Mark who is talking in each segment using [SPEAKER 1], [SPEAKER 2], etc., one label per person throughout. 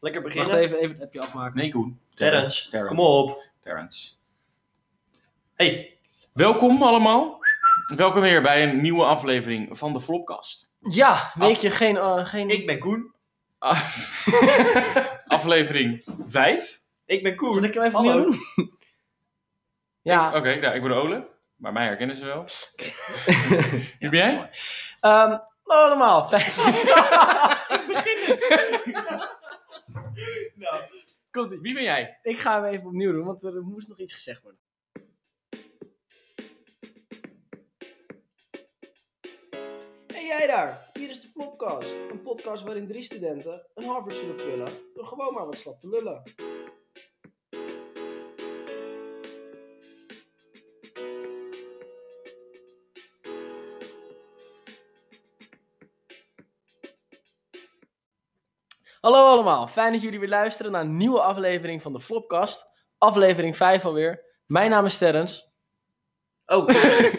[SPEAKER 1] Lekker
[SPEAKER 2] Wacht
[SPEAKER 1] beginnen.
[SPEAKER 2] even, even het appje afmaken.
[SPEAKER 3] Nee, Koen.
[SPEAKER 1] Terrence,
[SPEAKER 3] Terrence.
[SPEAKER 1] kom op.
[SPEAKER 3] Terrence.
[SPEAKER 1] Hey,
[SPEAKER 3] Welkom allemaal. Welkom weer bij een nieuwe aflevering van de Flopcast.
[SPEAKER 2] Ja, weet je, geen... eh, geen...
[SPEAKER 1] ik ben Koen.
[SPEAKER 3] Ah, aflevering 5.
[SPEAKER 1] Ik ben Koen.
[SPEAKER 2] Zal ik hem even
[SPEAKER 1] Hallo.
[SPEAKER 2] opnieuw doen? ja,
[SPEAKER 3] Oké, nou, ik ben Ole. Maar mij herkennen ze wel. Wie ben jij?
[SPEAKER 2] ehm, hallo allemaal. Fijn.
[SPEAKER 1] Nou,
[SPEAKER 2] Komt-ie.
[SPEAKER 3] Wie ben jij?
[SPEAKER 2] Ik ga hem even opnieuw doen, want er moest nog iets gezegd worden. Hey jij daar, hier is de Flopcast. Een podcast waarin drie studenten een Harvard zullen vullen door gewoon maar wat slap te lullen. Hallo allemaal, fijn dat jullie weer luisteren naar een nieuwe aflevering van de Flopcast. Aflevering 5 alweer. Mijn naam is Terrens.
[SPEAKER 1] Oh,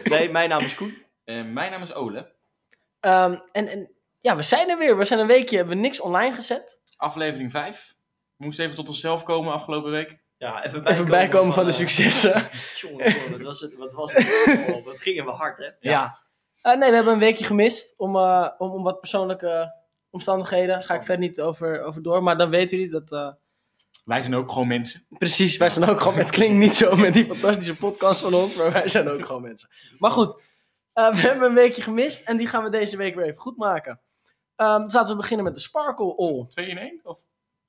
[SPEAKER 1] nee, mijn naam is Koen.
[SPEAKER 3] Eh, mijn naam is Ole.
[SPEAKER 2] Ehm, en, en ja, we zijn er weer. We zijn een weekje, hebben we niks online gezet.
[SPEAKER 3] Aflevering 5. We moesten even tot onszelf komen afgelopen week.
[SPEAKER 1] Ja, even bijkomen,
[SPEAKER 2] Even bijkomen van de
[SPEAKER 1] eh,
[SPEAKER 2] successen.
[SPEAKER 1] Jongen, jongen, wat was het? Wat was het? Oh, wat gingen we hard, hè?
[SPEAKER 3] Ja.
[SPEAKER 2] Eh, nee, we hebben een weekje gemist om, eh, om, om wat persoonlijke omstandigheden. Daar ga ik verder niet over, over door. Maar dan weten jullie dat. eh,
[SPEAKER 3] Wij zijn ook gewoon mensen.
[SPEAKER 2] precies, wij zijn ook gewoon. Het klinkt niet zo met die fantastische podcast van ons, maar wij zijn ook gewoon mensen. Maar goed, eh, we hebben een weekje gemist en die gaan we deze week weer even goed maken. Ehm, dus laten we beginnen met de Sparkle All.
[SPEAKER 3] Twee in één? Of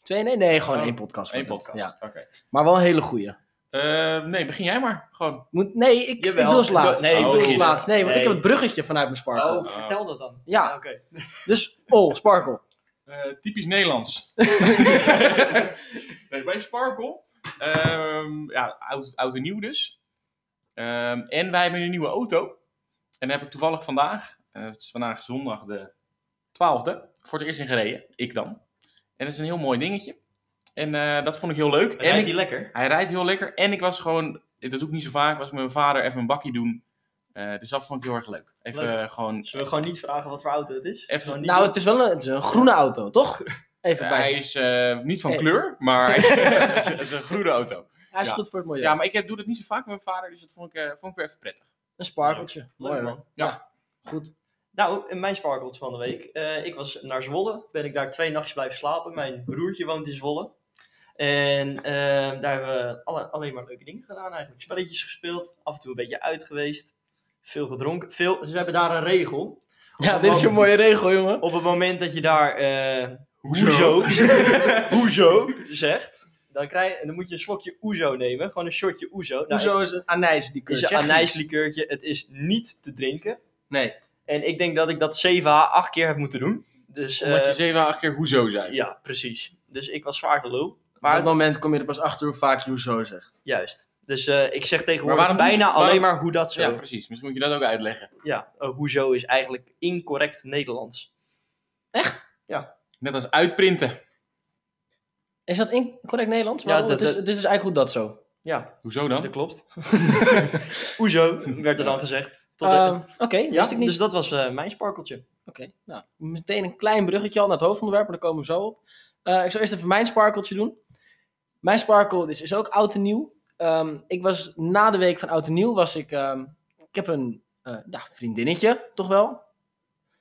[SPEAKER 2] Twee, nee, nee, gewoon
[SPEAKER 3] Oh,
[SPEAKER 2] één podcast.
[SPEAKER 3] één
[SPEAKER 2] wordt
[SPEAKER 3] podcast?
[SPEAKER 2] het. Ja.
[SPEAKER 3] Oké.
[SPEAKER 2] Maar wel een hele goeie.
[SPEAKER 3] Eh, nee, begin jij maar. Gewoon.
[SPEAKER 2] Moet, nee, ik, ik
[SPEAKER 1] Jawel.
[SPEAKER 2] doe als laatst.
[SPEAKER 1] Do- nee,
[SPEAKER 2] ik doe als
[SPEAKER 3] beginnen.
[SPEAKER 2] laatst. Nee, want
[SPEAKER 1] Nee.
[SPEAKER 2] ik heb het bruggetje vanuit mijn Sparkle.
[SPEAKER 1] Oh, vertel dat dan.
[SPEAKER 2] Ja.
[SPEAKER 1] Ah, Oké.
[SPEAKER 2] Dus, oh, Sparkle.
[SPEAKER 3] Eh, typisch Nederlands. nee, bij Sparkle. ehm, ja, oud, oud en nieuw dus. Ehm, en wij hebben een nieuwe auto. En daar heb ik toevallig vandaag, eh, het is vandaag zondag de 12e, voor het eerst in gereden. Ik dan. En dat is een heel mooi dingetje. En eh, dat vond ik heel leuk. en
[SPEAKER 1] Rijdt
[SPEAKER 3] ik-
[SPEAKER 1] die lekker?
[SPEAKER 3] hij rijdt heel lekker. En ik was gewoon, dat doe ik niet zo vaak, was met mijn vader even een bakkie doen. Eh, dus dat vond ik heel erg leuk. Even
[SPEAKER 1] Leuk.
[SPEAKER 3] eh, gewoon...
[SPEAKER 1] Zullen we gewoon niet vragen wat voor auto het is?
[SPEAKER 3] Even-
[SPEAKER 1] Gewoon niet
[SPEAKER 2] Nou,
[SPEAKER 1] doen?
[SPEAKER 2] het is wel een, het is een groene auto, toch? Even
[SPEAKER 3] Eh,
[SPEAKER 2] bij.
[SPEAKER 3] hij is eh, niet van
[SPEAKER 2] Eh.
[SPEAKER 3] kleur, maar het is- het is een groene auto.
[SPEAKER 2] Hij is
[SPEAKER 3] ja.
[SPEAKER 2] goed voor het milieu.
[SPEAKER 3] Ja, maar ik heb, doe dat niet zo vaak met mijn vader, dus dat vond ik, eh, vond ik weer even prettig.
[SPEAKER 2] Een sparkeltje. Mooi
[SPEAKER 1] Leuk,
[SPEAKER 2] man.
[SPEAKER 1] man.
[SPEAKER 2] Goed.
[SPEAKER 1] Nou, in mijn sparkelt van de week. eh, ik was naar Zwolle. Ben ik daar twee nachtjes blijven slapen. Mijn broertje woont in Zwolle. En eh, daar hebben we alle, alleen maar leuke dingen gedaan eigenlijk. Spelletjes gespeeld. Af en toe een beetje uit geweest. Veel gedronken. Veel, ze hebben daar een regel.
[SPEAKER 2] Ja,
[SPEAKER 1] Oh,
[SPEAKER 2] dit is
[SPEAKER 1] man.
[SPEAKER 2] een mooie regel, jongen.
[SPEAKER 1] Op het moment dat je daar eh hoezo, hoezo zegt, dan, krijg, dan moet je een slokje oezo nemen. Gewoon een shotje oezo. Nou,
[SPEAKER 2] Hoezo is een anijs die
[SPEAKER 1] Het is
[SPEAKER 2] keurtje?
[SPEAKER 1] een anijslikeurtje. Het is niet te drinken.
[SPEAKER 2] Nee.
[SPEAKER 1] En ik denk dat ik dat 7 à 8 keer heb moeten doen. Dus,
[SPEAKER 3] Omdat
[SPEAKER 1] eh,
[SPEAKER 3] je zeven, acht keer hoezo zei.
[SPEAKER 1] Ja, precies. Dus ik was zwaar de lul.
[SPEAKER 2] Maar
[SPEAKER 1] Maar
[SPEAKER 2] op dat moment kom je er pas achter hoe vaak je hoezo zegt.
[SPEAKER 1] juist. Dus eh, ik zeg tegenwoordig
[SPEAKER 3] Maar waarom-
[SPEAKER 1] bijna
[SPEAKER 3] waarom-
[SPEAKER 1] alleen maar hoe dat zo.
[SPEAKER 3] Ja,
[SPEAKER 1] Ja,
[SPEAKER 3] precies. Misschien moet je dat ook uitleggen.
[SPEAKER 1] eh, hoezo is eigenlijk incorrect Nederlands.
[SPEAKER 3] Net als uitprinten.
[SPEAKER 2] Is dat incorrect Nederlands?
[SPEAKER 1] Ja,
[SPEAKER 2] Waarom?
[SPEAKER 1] dat-
[SPEAKER 2] het, is,
[SPEAKER 1] dat-
[SPEAKER 2] het is dus eigenlijk hoe dat zo.
[SPEAKER 1] Ja,
[SPEAKER 3] Hoezo
[SPEAKER 1] dat
[SPEAKER 3] dan?
[SPEAKER 1] klopt. hoezo werd er dan gezegd. Tot de-
[SPEAKER 2] Ehm, Oké,
[SPEAKER 1] ja,
[SPEAKER 2] wist ik niet.
[SPEAKER 1] dus dat was eh, mijn sparkeltje.
[SPEAKER 2] Oké, nou, meteen een klein bruggetje al naar het hoofdonderwerp, maar daar komen we zo op. Eh, ik zal eerst even mijn sparkeltje doen. Mijn sparkel is, is ook oud en nieuw. Ehm, ik was na de week van oud en nieuw, was ik, ehm, ik heb een eh, ja, vriendinnetje, toch wel?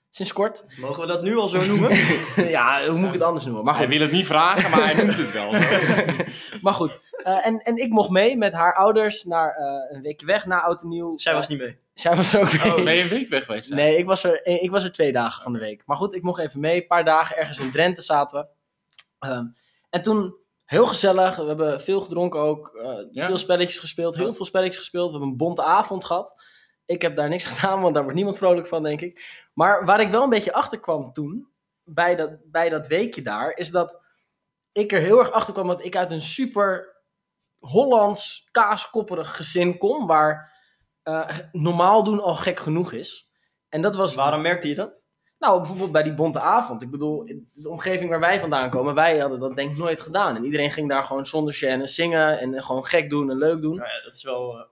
[SPEAKER 2] Sinds kort.
[SPEAKER 1] Mogen we dat nu al zo noemen?
[SPEAKER 2] ja, hoe moet ik het anders noemen? Maar
[SPEAKER 3] Hij
[SPEAKER 2] goed,
[SPEAKER 3] wil het niet vragen, maar hij noemt het wel.
[SPEAKER 2] maar goed. Eh, en, en ik mocht mee met haar ouders naar eh, een weekje weg na oud en nieuw.
[SPEAKER 1] Zij was niet mee.
[SPEAKER 2] Eh, zij was ook mee.
[SPEAKER 3] ben je een week weg geweest? hè?
[SPEAKER 2] Nee, ik was, er, eh, ik was er twee dagen van de week. Maar goed, ik mocht even mee. Een paar dagen ergens in Drenthe zaten we. Ehm, en toen, heel gezellig. We hebben veel gedronken ook. eh,
[SPEAKER 3] Ja.
[SPEAKER 2] Veel spelletjes gespeeld. Heel
[SPEAKER 3] Ja.
[SPEAKER 2] veel spelletjes gespeeld. We hebben een bonte avond gehad. Ik heb daar niks gedaan, want daar wordt niemand vrolijk van, denk ik. Maar waar ik wel een beetje achter kwam toen, bij dat, bij dat weekje daar, is dat ik er heel erg achter kwam dat ik uit een super Hollands kaaskopperig gezin kom, waar eh, normaal doen al gek genoeg is. En dat was
[SPEAKER 1] Waarom merkte je dat?
[SPEAKER 2] nou, bijvoorbeeld bij die bonte avond. Ik bedoel, in de omgeving waar wij vandaan komen, wij hadden dat denk ik nooit gedaan. En iedereen ging daar gewoon zonder chaîne zingen en gewoon gek doen en leuk doen.
[SPEAKER 1] Nou ja, dat is wel... eh,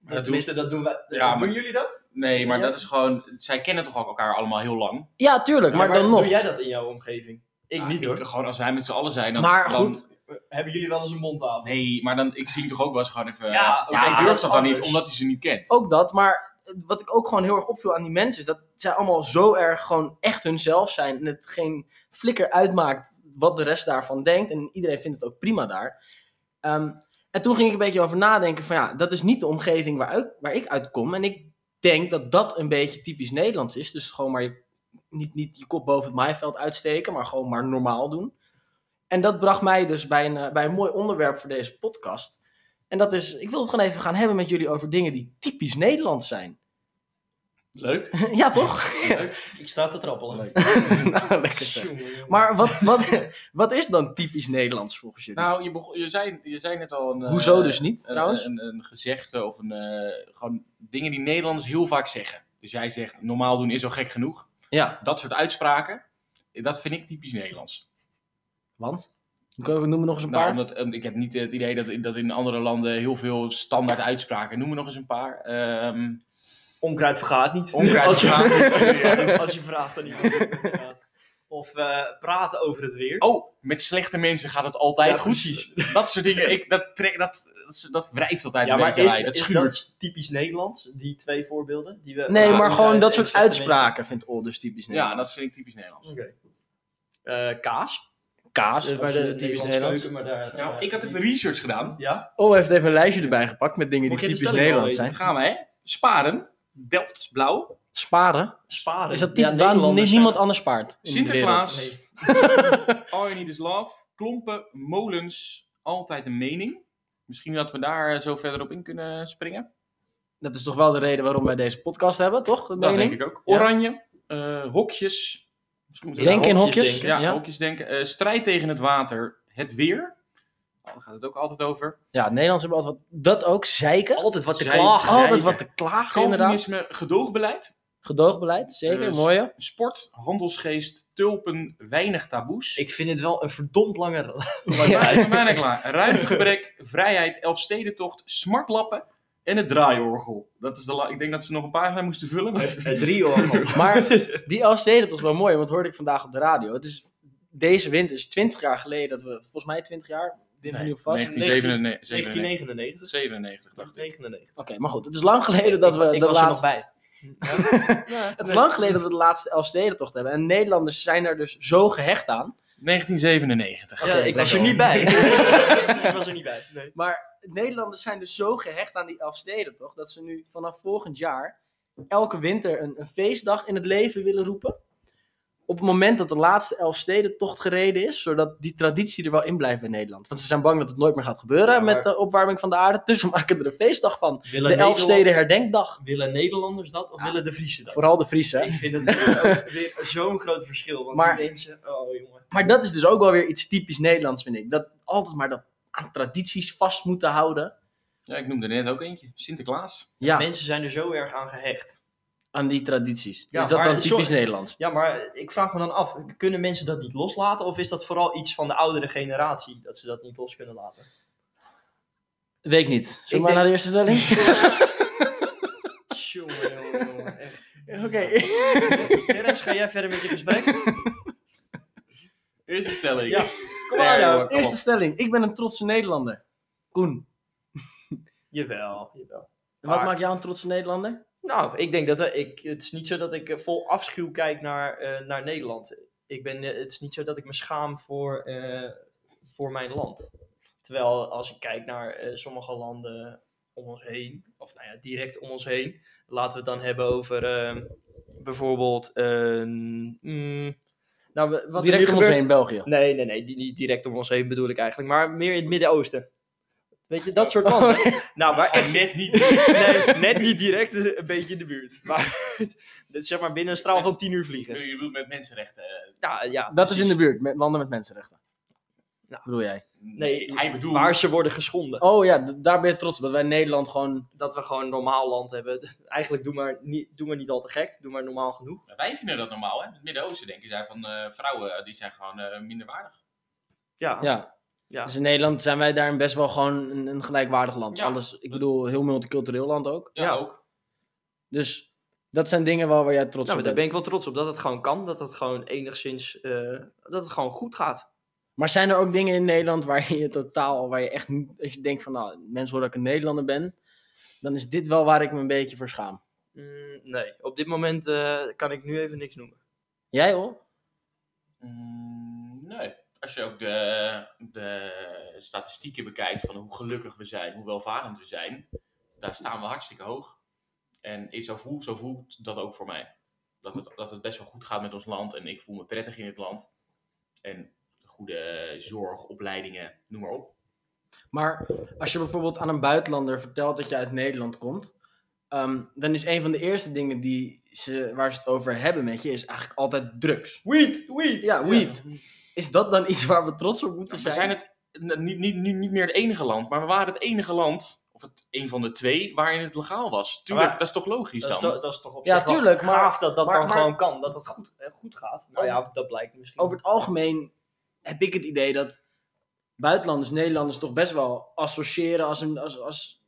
[SPEAKER 3] Maar dat
[SPEAKER 1] tenminste, dat doen wij.
[SPEAKER 3] Ja, maar-
[SPEAKER 1] Doen jullie dat?
[SPEAKER 3] Nee, maar
[SPEAKER 1] Ja.
[SPEAKER 3] dat is gewoon... Zij kennen toch ook elkaar allemaal heel lang?
[SPEAKER 2] Ja, tuurlijk, maar, dan nog.
[SPEAKER 1] Doe jij dat in jouw omgeving? Ah, Ik
[SPEAKER 3] Ja,
[SPEAKER 1] niet hoor.
[SPEAKER 3] Gewoon als wij met z'n allen zijn. Dan,
[SPEAKER 2] Maar
[SPEAKER 3] dan-
[SPEAKER 2] goed.
[SPEAKER 1] Hebben jullie wel eens een mondtafel?
[SPEAKER 3] Nee, maar dan, ik zie hem toch ook wel eens gewoon even. eh,
[SPEAKER 1] Ja, oké,
[SPEAKER 3] hij
[SPEAKER 1] dat
[SPEAKER 3] durft
[SPEAKER 1] is
[SPEAKER 3] dat dan
[SPEAKER 1] anders.
[SPEAKER 3] niet, omdat hij ze niet kent.
[SPEAKER 2] Ook dat, maar wat ik ook gewoon heel erg opviel aan die mensen is dat zij allemaal zo erg gewoon echt hunzelf zijn en het geen flikker uitmaakt wat de rest daarvan denkt. En iedereen vindt het ook prima daar. Ehm, en toen ging ik een beetje over nadenken van ja, dat is niet de omgeving waar, ik- waar ik uit kom. En ik denk dat dat een beetje typisch Nederlands is. Dus gewoon maar je, niet, niet je kop boven het maaiveld uitsteken, maar gewoon maar normaal doen. En dat bracht mij dus bij een, eh, bij een mooi onderwerp voor deze podcast. En dat is, ik wil het gewoon even gaan hebben met jullie over dingen die typisch Nederlands zijn.
[SPEAKER 3] Leuk.
[SPEAKER 2] ja, toch?
[SPEAKER 3] Leuk.
[SPEAKER 1] Ik sta te trappelen.
[SPEAKER 2] nou, lekker zeg.
[SPEAKER 1] Jongen, jongen.
[SPEAKER 2] Maar wat, wat, wat is dan typisch Nederlands volgens jullie?
[SPEAKER 3] Nou, je, begon- je, zei, je zei net al een. eh,
[SPEAKER 2] Hoezo dus niet,
[SPEAKER 3] een-
[SPEAKER 2] trouwens?
[SPEAKER 3] Een, een, gezegde of een. eh, gewoon dingen die Nederlanders heel vaak zeggen. Dus jij zegt normaal doen is al gek genoeg.
[SPEAKER 2] ja,
[SPEAKER 3] Dat soort uitspraken. Dat vind ik typisch Nederlands.
[SPEAKER 2] want? Dan kunnen we- Noem me nog eens een
[SPEAKER 3] Nou,
[SPEAKER 2] paar.
[SPEAKER 3] omdat, eh, ik heb niet het idee dat, in- dat in andere landen heel veel standaard uitspraken. Noem me nog eens een paar. Ehm
[SPEAKER 1] Onkruid vergaat niet.
[SPEAKER 3] Onkruid
[SPEAKER 1] als je,
[SPEAKER 3] vergaat niet.
[SPEAKER 1] als je vraagt aan iemand. hoe het gaat. Of eh, praten over het weer.
[SPEAKER 3] Oh, met slechte mensen gaat het altijd
[SPEAKER 1] Ja,
[SPEAKER 3] goed.
[SPEAKER 1] precies.
[SPEAKER 3] Dat soort dingen. Ik, dat, trek, dat, dat, dat wrijft altijd
[SPEAKER 1] ja,
[SPEAKER 3] een
[SPEAKER 1] maar
[SPEAKER 3] beetje
[SPEAKER 1] is,
[SPEAKER 3] bij. Dat
[SPEAKER 1] is
[SPEAKER 3] schuurt.
[SPEAKER 1] dat typisch Nederlands? Die twee voorbeelden? Die we,
[SPEAKER 2] nee,
[SPEAKER 1] Ja,
[SPEAKER 2] maar
[SPEAKER 1] onkruid
[SPEAKER 2] gewoon dat
[SPEAKER 1] en
[SPEAKER 2] soort
[SPEAKER 1] slechte
[SPEAKER 2] uitspraken vindt Ol dus typisch
[SPEAKER 3] Ja,
[SPEAKER 2] Nederlands.
[SPEAKER 3] dat vind ik typisch Nederlands.
[SPEAKER 1] mensen. Oké. Eh, kaas.
[SPEAKER 2] Kaas,
[SPEAKER 1] Eh,
[SPEAKER 2] bij de typisch Nederlands.
[SPEAKER 1] keuken, maar daar...
[SPEAKER 3] Nou,
[SPEAKER 1] eh,
[SPEAKER 3] ik had even
[SPEAKER 1] die-
[SPEAKER 3] research gedaan.
[SPEAKER 1] Ja?
[SPEAKER 2] Ol heeft even een lijstje erbij gepakt met dingen die
[SPEAKER 1] Mocht je de
[SPEAKER 2] typisch
[SPEAKER 1] stelling wel
[SPEAKER 2] Nederlands
[SPEAKER 1] weten?
[SPEAKER 2] zijn.
[SPEAKER 3] Dan gaan we, hè? Sparen, Delfts blauw,
[SPEAKER 2] Sparen.
[SPEAKER 1] Sparen.
[SPEAKER 2] Is dat
[SPEAKER 1] Ja,
[SPEAKER 2] typisch? waarom
[SPEAKER 1] Nederlanders
[SPEAKER 2] niet-
[SPEAKER 1] zijn-
[SPEAKER 2] niemand anders spaart in
[SPEAKER 3] Sinterklaas,
[SPEAKER 1] Nee.
[SPEAKER 3] All You Need Is Love, Klompen, Molens, Altijd een Mening. Misschien dat we daar zo verder op in kunnen springen.
[SPEAKER 2] Dat is toch wel de reden waarom wij deze podcast hebben, toch?
[SPEAKER 3] Dat
[SPEAKER 2] Mening?
[SPEAKER 3] denk ik ook. Oranje, eh, Hokjes. Misschien moeten we
[SPEAKER 2] Denk
[SPEAKER 3] daar
[SPEAKER 2] in
[SPEAKER 1] hokjes
[SPEAKER 2] hokjes.
[SPEAKER 1] denken,
[SPEAKER 3] Ja, hokjes denken. Eh, strijd tegen het water, het weer. Oh, daar gaat het ook altijd over.
[SPEAKER 2] Ja, Nederlands hebben altijd wat. Dat ook, zeiken.
[SPEAKER 1] Altijd wat te
[SPEAKER 3] Zeiken.
[SPEAKER 1] klagen.
[SPEAKER 2] Altijd
[SPEAKER 3] zeiken.
[SPEAKER 2] wat te klagen, inderdaad.
[SPEAKER 3] Calvinisme, gedoogbeleid,
[SPEAKER 2] Gedoogbeleid, zeker.
[SPEAKER 3] Dus-
[SPEAKER 2] Mooie.
[SPEAKER 3] sport, handelsgeest, tulpen, weinig taboes.
[SPEAKER 1] Ik vind het wel een verdomd lange
[SPEAKER 3] Maar daar is het bijna klaar. Ruimtegebrek, vrijheid, Elfstedentocht, smartlappen en het draaiorgel. Dat is de la- ik denk dat ze nog een pagina moesten vullen. maar-
[SPEAKER 1] drie oren.
[SPEAKER 2] Maar die LCD, dat was wel mooi, want hoorde ik vandaag op de radio. Het is, deze winter is 20 jaar geleden dat we, volgens mij 20 jaar, win me
[SPEAKER 1] Nee,
[SPEAKER 2] nu op vast.
[SPEAKER 1] nee.
[SPEAKER 3] 1997,
[SPEAKER 1] 1999.
[SPEAKER 3] 97, dacht ik.
[SPEAKER 1] 1999.
[SPEAKER 2] Oké, maar goed, het is lang geleden dat we
[SPEAKER 1] ik
[SPEAKER 2] de
[SPEAKER 1] was er nog
[SPEAKER 2] laatste,
[SPEAKER 1] bij.
[SPEAKER 2] het is lang geleden dat we de laatste LCD-tocht hebben. En Nederlanders zijn daar dus zo gehecht aan.
[SPEAKER 3] 1997.
[SPEAKER 2] Oké,
[SPEAKER 1] ja, ik was er
[SPEAKER 2] lekker.
[SPEAKER 1] niet bij. ik was er niet bij. Nee.
[SPEAKER 2] Maar Nederlanders zijn dus zo gehecht aan die Elfstedentocht dat ze nu vanaf volgend jaar elke winter een, een feestdag in het leven willen roepen. Op het moment dat de laatste Elfstedentocht gereden is, zodat die traditie er wel in blijft bij Nederland. Want ze zijn bang dat het nooit meer gaat gebeuren
[SPEAKER 1] Ja, maar-
[SPEAKER 2] met de opwarming van de aarde, dus we maken er een feestdag van.
[SPEAKER 1] Willen,
[SPEAKER 2] De Elfsteden herdenkdag.
[SPEAKER 1] willen Nederlanders dat of willen de Friese dat?
[SPEAKER 2] Vooral de Friese.
[SPEAKER 1] Ik vind het ook weer zo'n groot verschil. Want
[SPEAKER 2] Maar-
[SPEAKER 1] die mensen... Oh, jongen.
[SPEAKER 2] Maar dat is dus ook wel weer iets typisch Nederlands, vind ik. Dat altijd maar dat aan tradities vast moeten houden.
[SPEAKER 3] Ja, ik noemde net ook eentje. Sinterklaas.
[SPEAKER 2] Ja,
[SPEAKER 1] Mensen zijn er zo erg aan gehecht.
[SPEAKER 2] aan die tradities.
[SPEAKER 1] Ja,
[SPEAKER 2] is dat
[SPEAKER 1] maar-
[SPEAKER 2] dan typisch
[SPEAKER 1] sorry.
[SPEAKER 2] Nederlands?
[SPEAKER 1] Ja, maar ik vraag me dan af. Kunnen mensen dat niet loslaten? Of is dat vooral iets van de oudere generatie? Dat ze dat niet los kunnen laten?
[SPEAKER 2] Weet ik niet. Zullen we
[SPEAKER 1] Ik denk-
[SPEAKER 2] maar naar de eerste stelling?
[SPEAKER 1] Jongen, jongen, jongen. echt.
[SPEAKER 2] Oké.
[SPEAKER 1] Terrence, ga jij verder met je gesprek?
[SPEAKER 3] Eerste stelling.
[SPEAKER 1] Ja. Kom
[SPEAKER 3] Nee,
[SPEAKER 1] maar
[SPEAKER 3] hoor.
[SPEAKER 1] nou.
[SPEAKER 3] Kom
[SPEAKER 2] Eerste
[SPEAKER 3] op.
[SPEAKER 2] stelling. Ik ben een trotse Nederlander. Koen,
[SPEAKER 1] Jawel, jawel.
[SPEAKER 2] wat
[SPEAKER 3] Maar-
[SPEAKER 2] maakt jou een trotse Nederlander?
[SPEAKER 1] Nou, ik denk dat eh, ik, het is niet zo dat ik eh, vol afschuw kijk naar, eh, naar Nederland. Ik ben, eh, het is niet zo dat ik me schaam voor, eh, voor mijn land. Terwijl als ik kijk naar eh, sommige landen om ons heen, of nou ja, direct om ons heen, laten we het dan hebben over ehm, bijvoorbeeld. ehm, mm, nou, we- wat er nu
[SPEAKER 2] Direct om ons
[SPEAKER 1] gebeurt-
[SPEAKER 2] heen, België.
[SPEAKER 1] Nee, nee, nee, die- niet direct om ons heen bedoel ik eigenlijk, maar meer in het Midden-Oosten. Weet je, dat
[SPEAKER 2] Oh.
[SPEAKER 1] soort landen. Nou, maar echt
[SPEAKER 3] Net niet.
[SPEAKER 1] Nee, net niet direct, eh, een beetje in de buurt. Maar dus zeg maar binnen een straal van 10 uur vliegen.
[SPEAKER 3] Je bedoelt met mensenrechten. eh,
[SPEAKER 1] Ja, ja,
[SPEAKER 2] dat is in
[SPEAKER 1] precies.
[SPEAKER 2] de buurt, met landen met mensenrechten.
[SPEAKER 1] Nou.
[SPEAKER 2] Bedoel jij?
[SPEAKER 1] Nee,
[SPEAKER 3] hij bedoelt...
[SPEAKER 1] Waar ze worden geschonden.
[SPEAKER 2] Oh ja, d- daar ben je trots op. Dat wij in Nederland gewoon...
[SPEAKER 1] Dat we gewoon normaal land hebben. Eigenlijk doe maar niet, doe maar niet al te gek, doe maar normaal genoeg.
[SPEAKER 3] Wij vinden dat normaal, hè? In het Midden-Oosten denken zij van eh, vrouwen, eh, die zijn gewoon eh, minder waardig.
[SPEAKER 1] Ja, ja. Nou,
[SPEAKER 2] Ja. Dus in Nederland zijn wij daarin best wel gewoon een, een gelijkwaardig land.
[SPEAKER 3] Ja.
[SPEAKER 2] Alles, ik bedoel, heel multicultureel land ook.
[SPEAKER 3] Ja,
[SPEAKER 1] Ja.
[SPEAKER 3] ook.
[SPEAKER 2] Dus Dat zijn dingen wel waar jij trots
[SPEAKER 1] Nou,
[SPEAKER 2] op
[SPEAKER 1] maar daar
[SPEAKER 2] bent.
[SPEAKER 1] ben ik wel trots op dat het gewoon kan. Dat het gewoon enigszins, eh, dat het gewoon goed gaat.
[SPEAKER 2] Maar zijn er ook dingen in Nederland waar je totaal, waar je echt niet, als je denkt van nou, mensen horen dat ik een Nederlander ben, dan is dit wel waar ik me een beetje voor schaam.
[SPEAKER 1] Mm, nee, op dit moment eh, kan ik nu even niks noemen.
[SPEAKER 2] Jij hoor?
[SPEAKER 3] Mm, nee. Als je ook de, de statistieken bekijkt van hoe gelukkig we zijn, hoe welvarend we zijn, daar staan we hartstikke hoog. En ik, zo, voel, zo voelt dat ook voor mij. Dat het, dat het best wel goed gaat met ons land en ik voel me prettig in het land. En goede zorg, opleidingen, noem maar op.
[SPEAKER 2] Maar als je bijvoorbeeld aan een buitenlander vertelt dat je uit Nederland komt, ehm, dan is een van de eerste dingen die ze, waar ze het over hebben met je, is eigenlijk altijd drugs.
[SPEAKER 3] Weed, weed!
[SPEAKER 2] Ja, weed. Is dat dan iets waar we trots op moeten
[SPEAKER 3] We
[SPEAKER 2] zijn?
[SPEAKER 3] zijn het n- niet, niet, niet, niet meer het enige land, maar we waren het enige land, of het een van de twee, waarin het legaal was. Tuurlijk,
[SPEAKER 1] Maar-
[SPEAKER 3] dat is toch logisch
[SPEAKER 1] Dat
[SPEAKER 3] dan?
[SPEAKER 1] is, to- dat is toch op
[SPEAKER 2] Ja,
[SPEAKER 1] zich wel
[SPEAKER 2] tuurlijk, maar-
[SPEAKER 1] gaaf dat dat
[SPEAKER 2] maar-
[SPEAKER 1] dan
[SPEAKER 2] maar-
[SPEAKER 1] gewoon kan. Dat het goed, eh, goed gaat. Nou ja, dat blijkt misschien.
[SPEAKER 2] Over het algemeen heb ik het idee dat buitenlanders Nederlanders toch best wel associëren als een, als, als,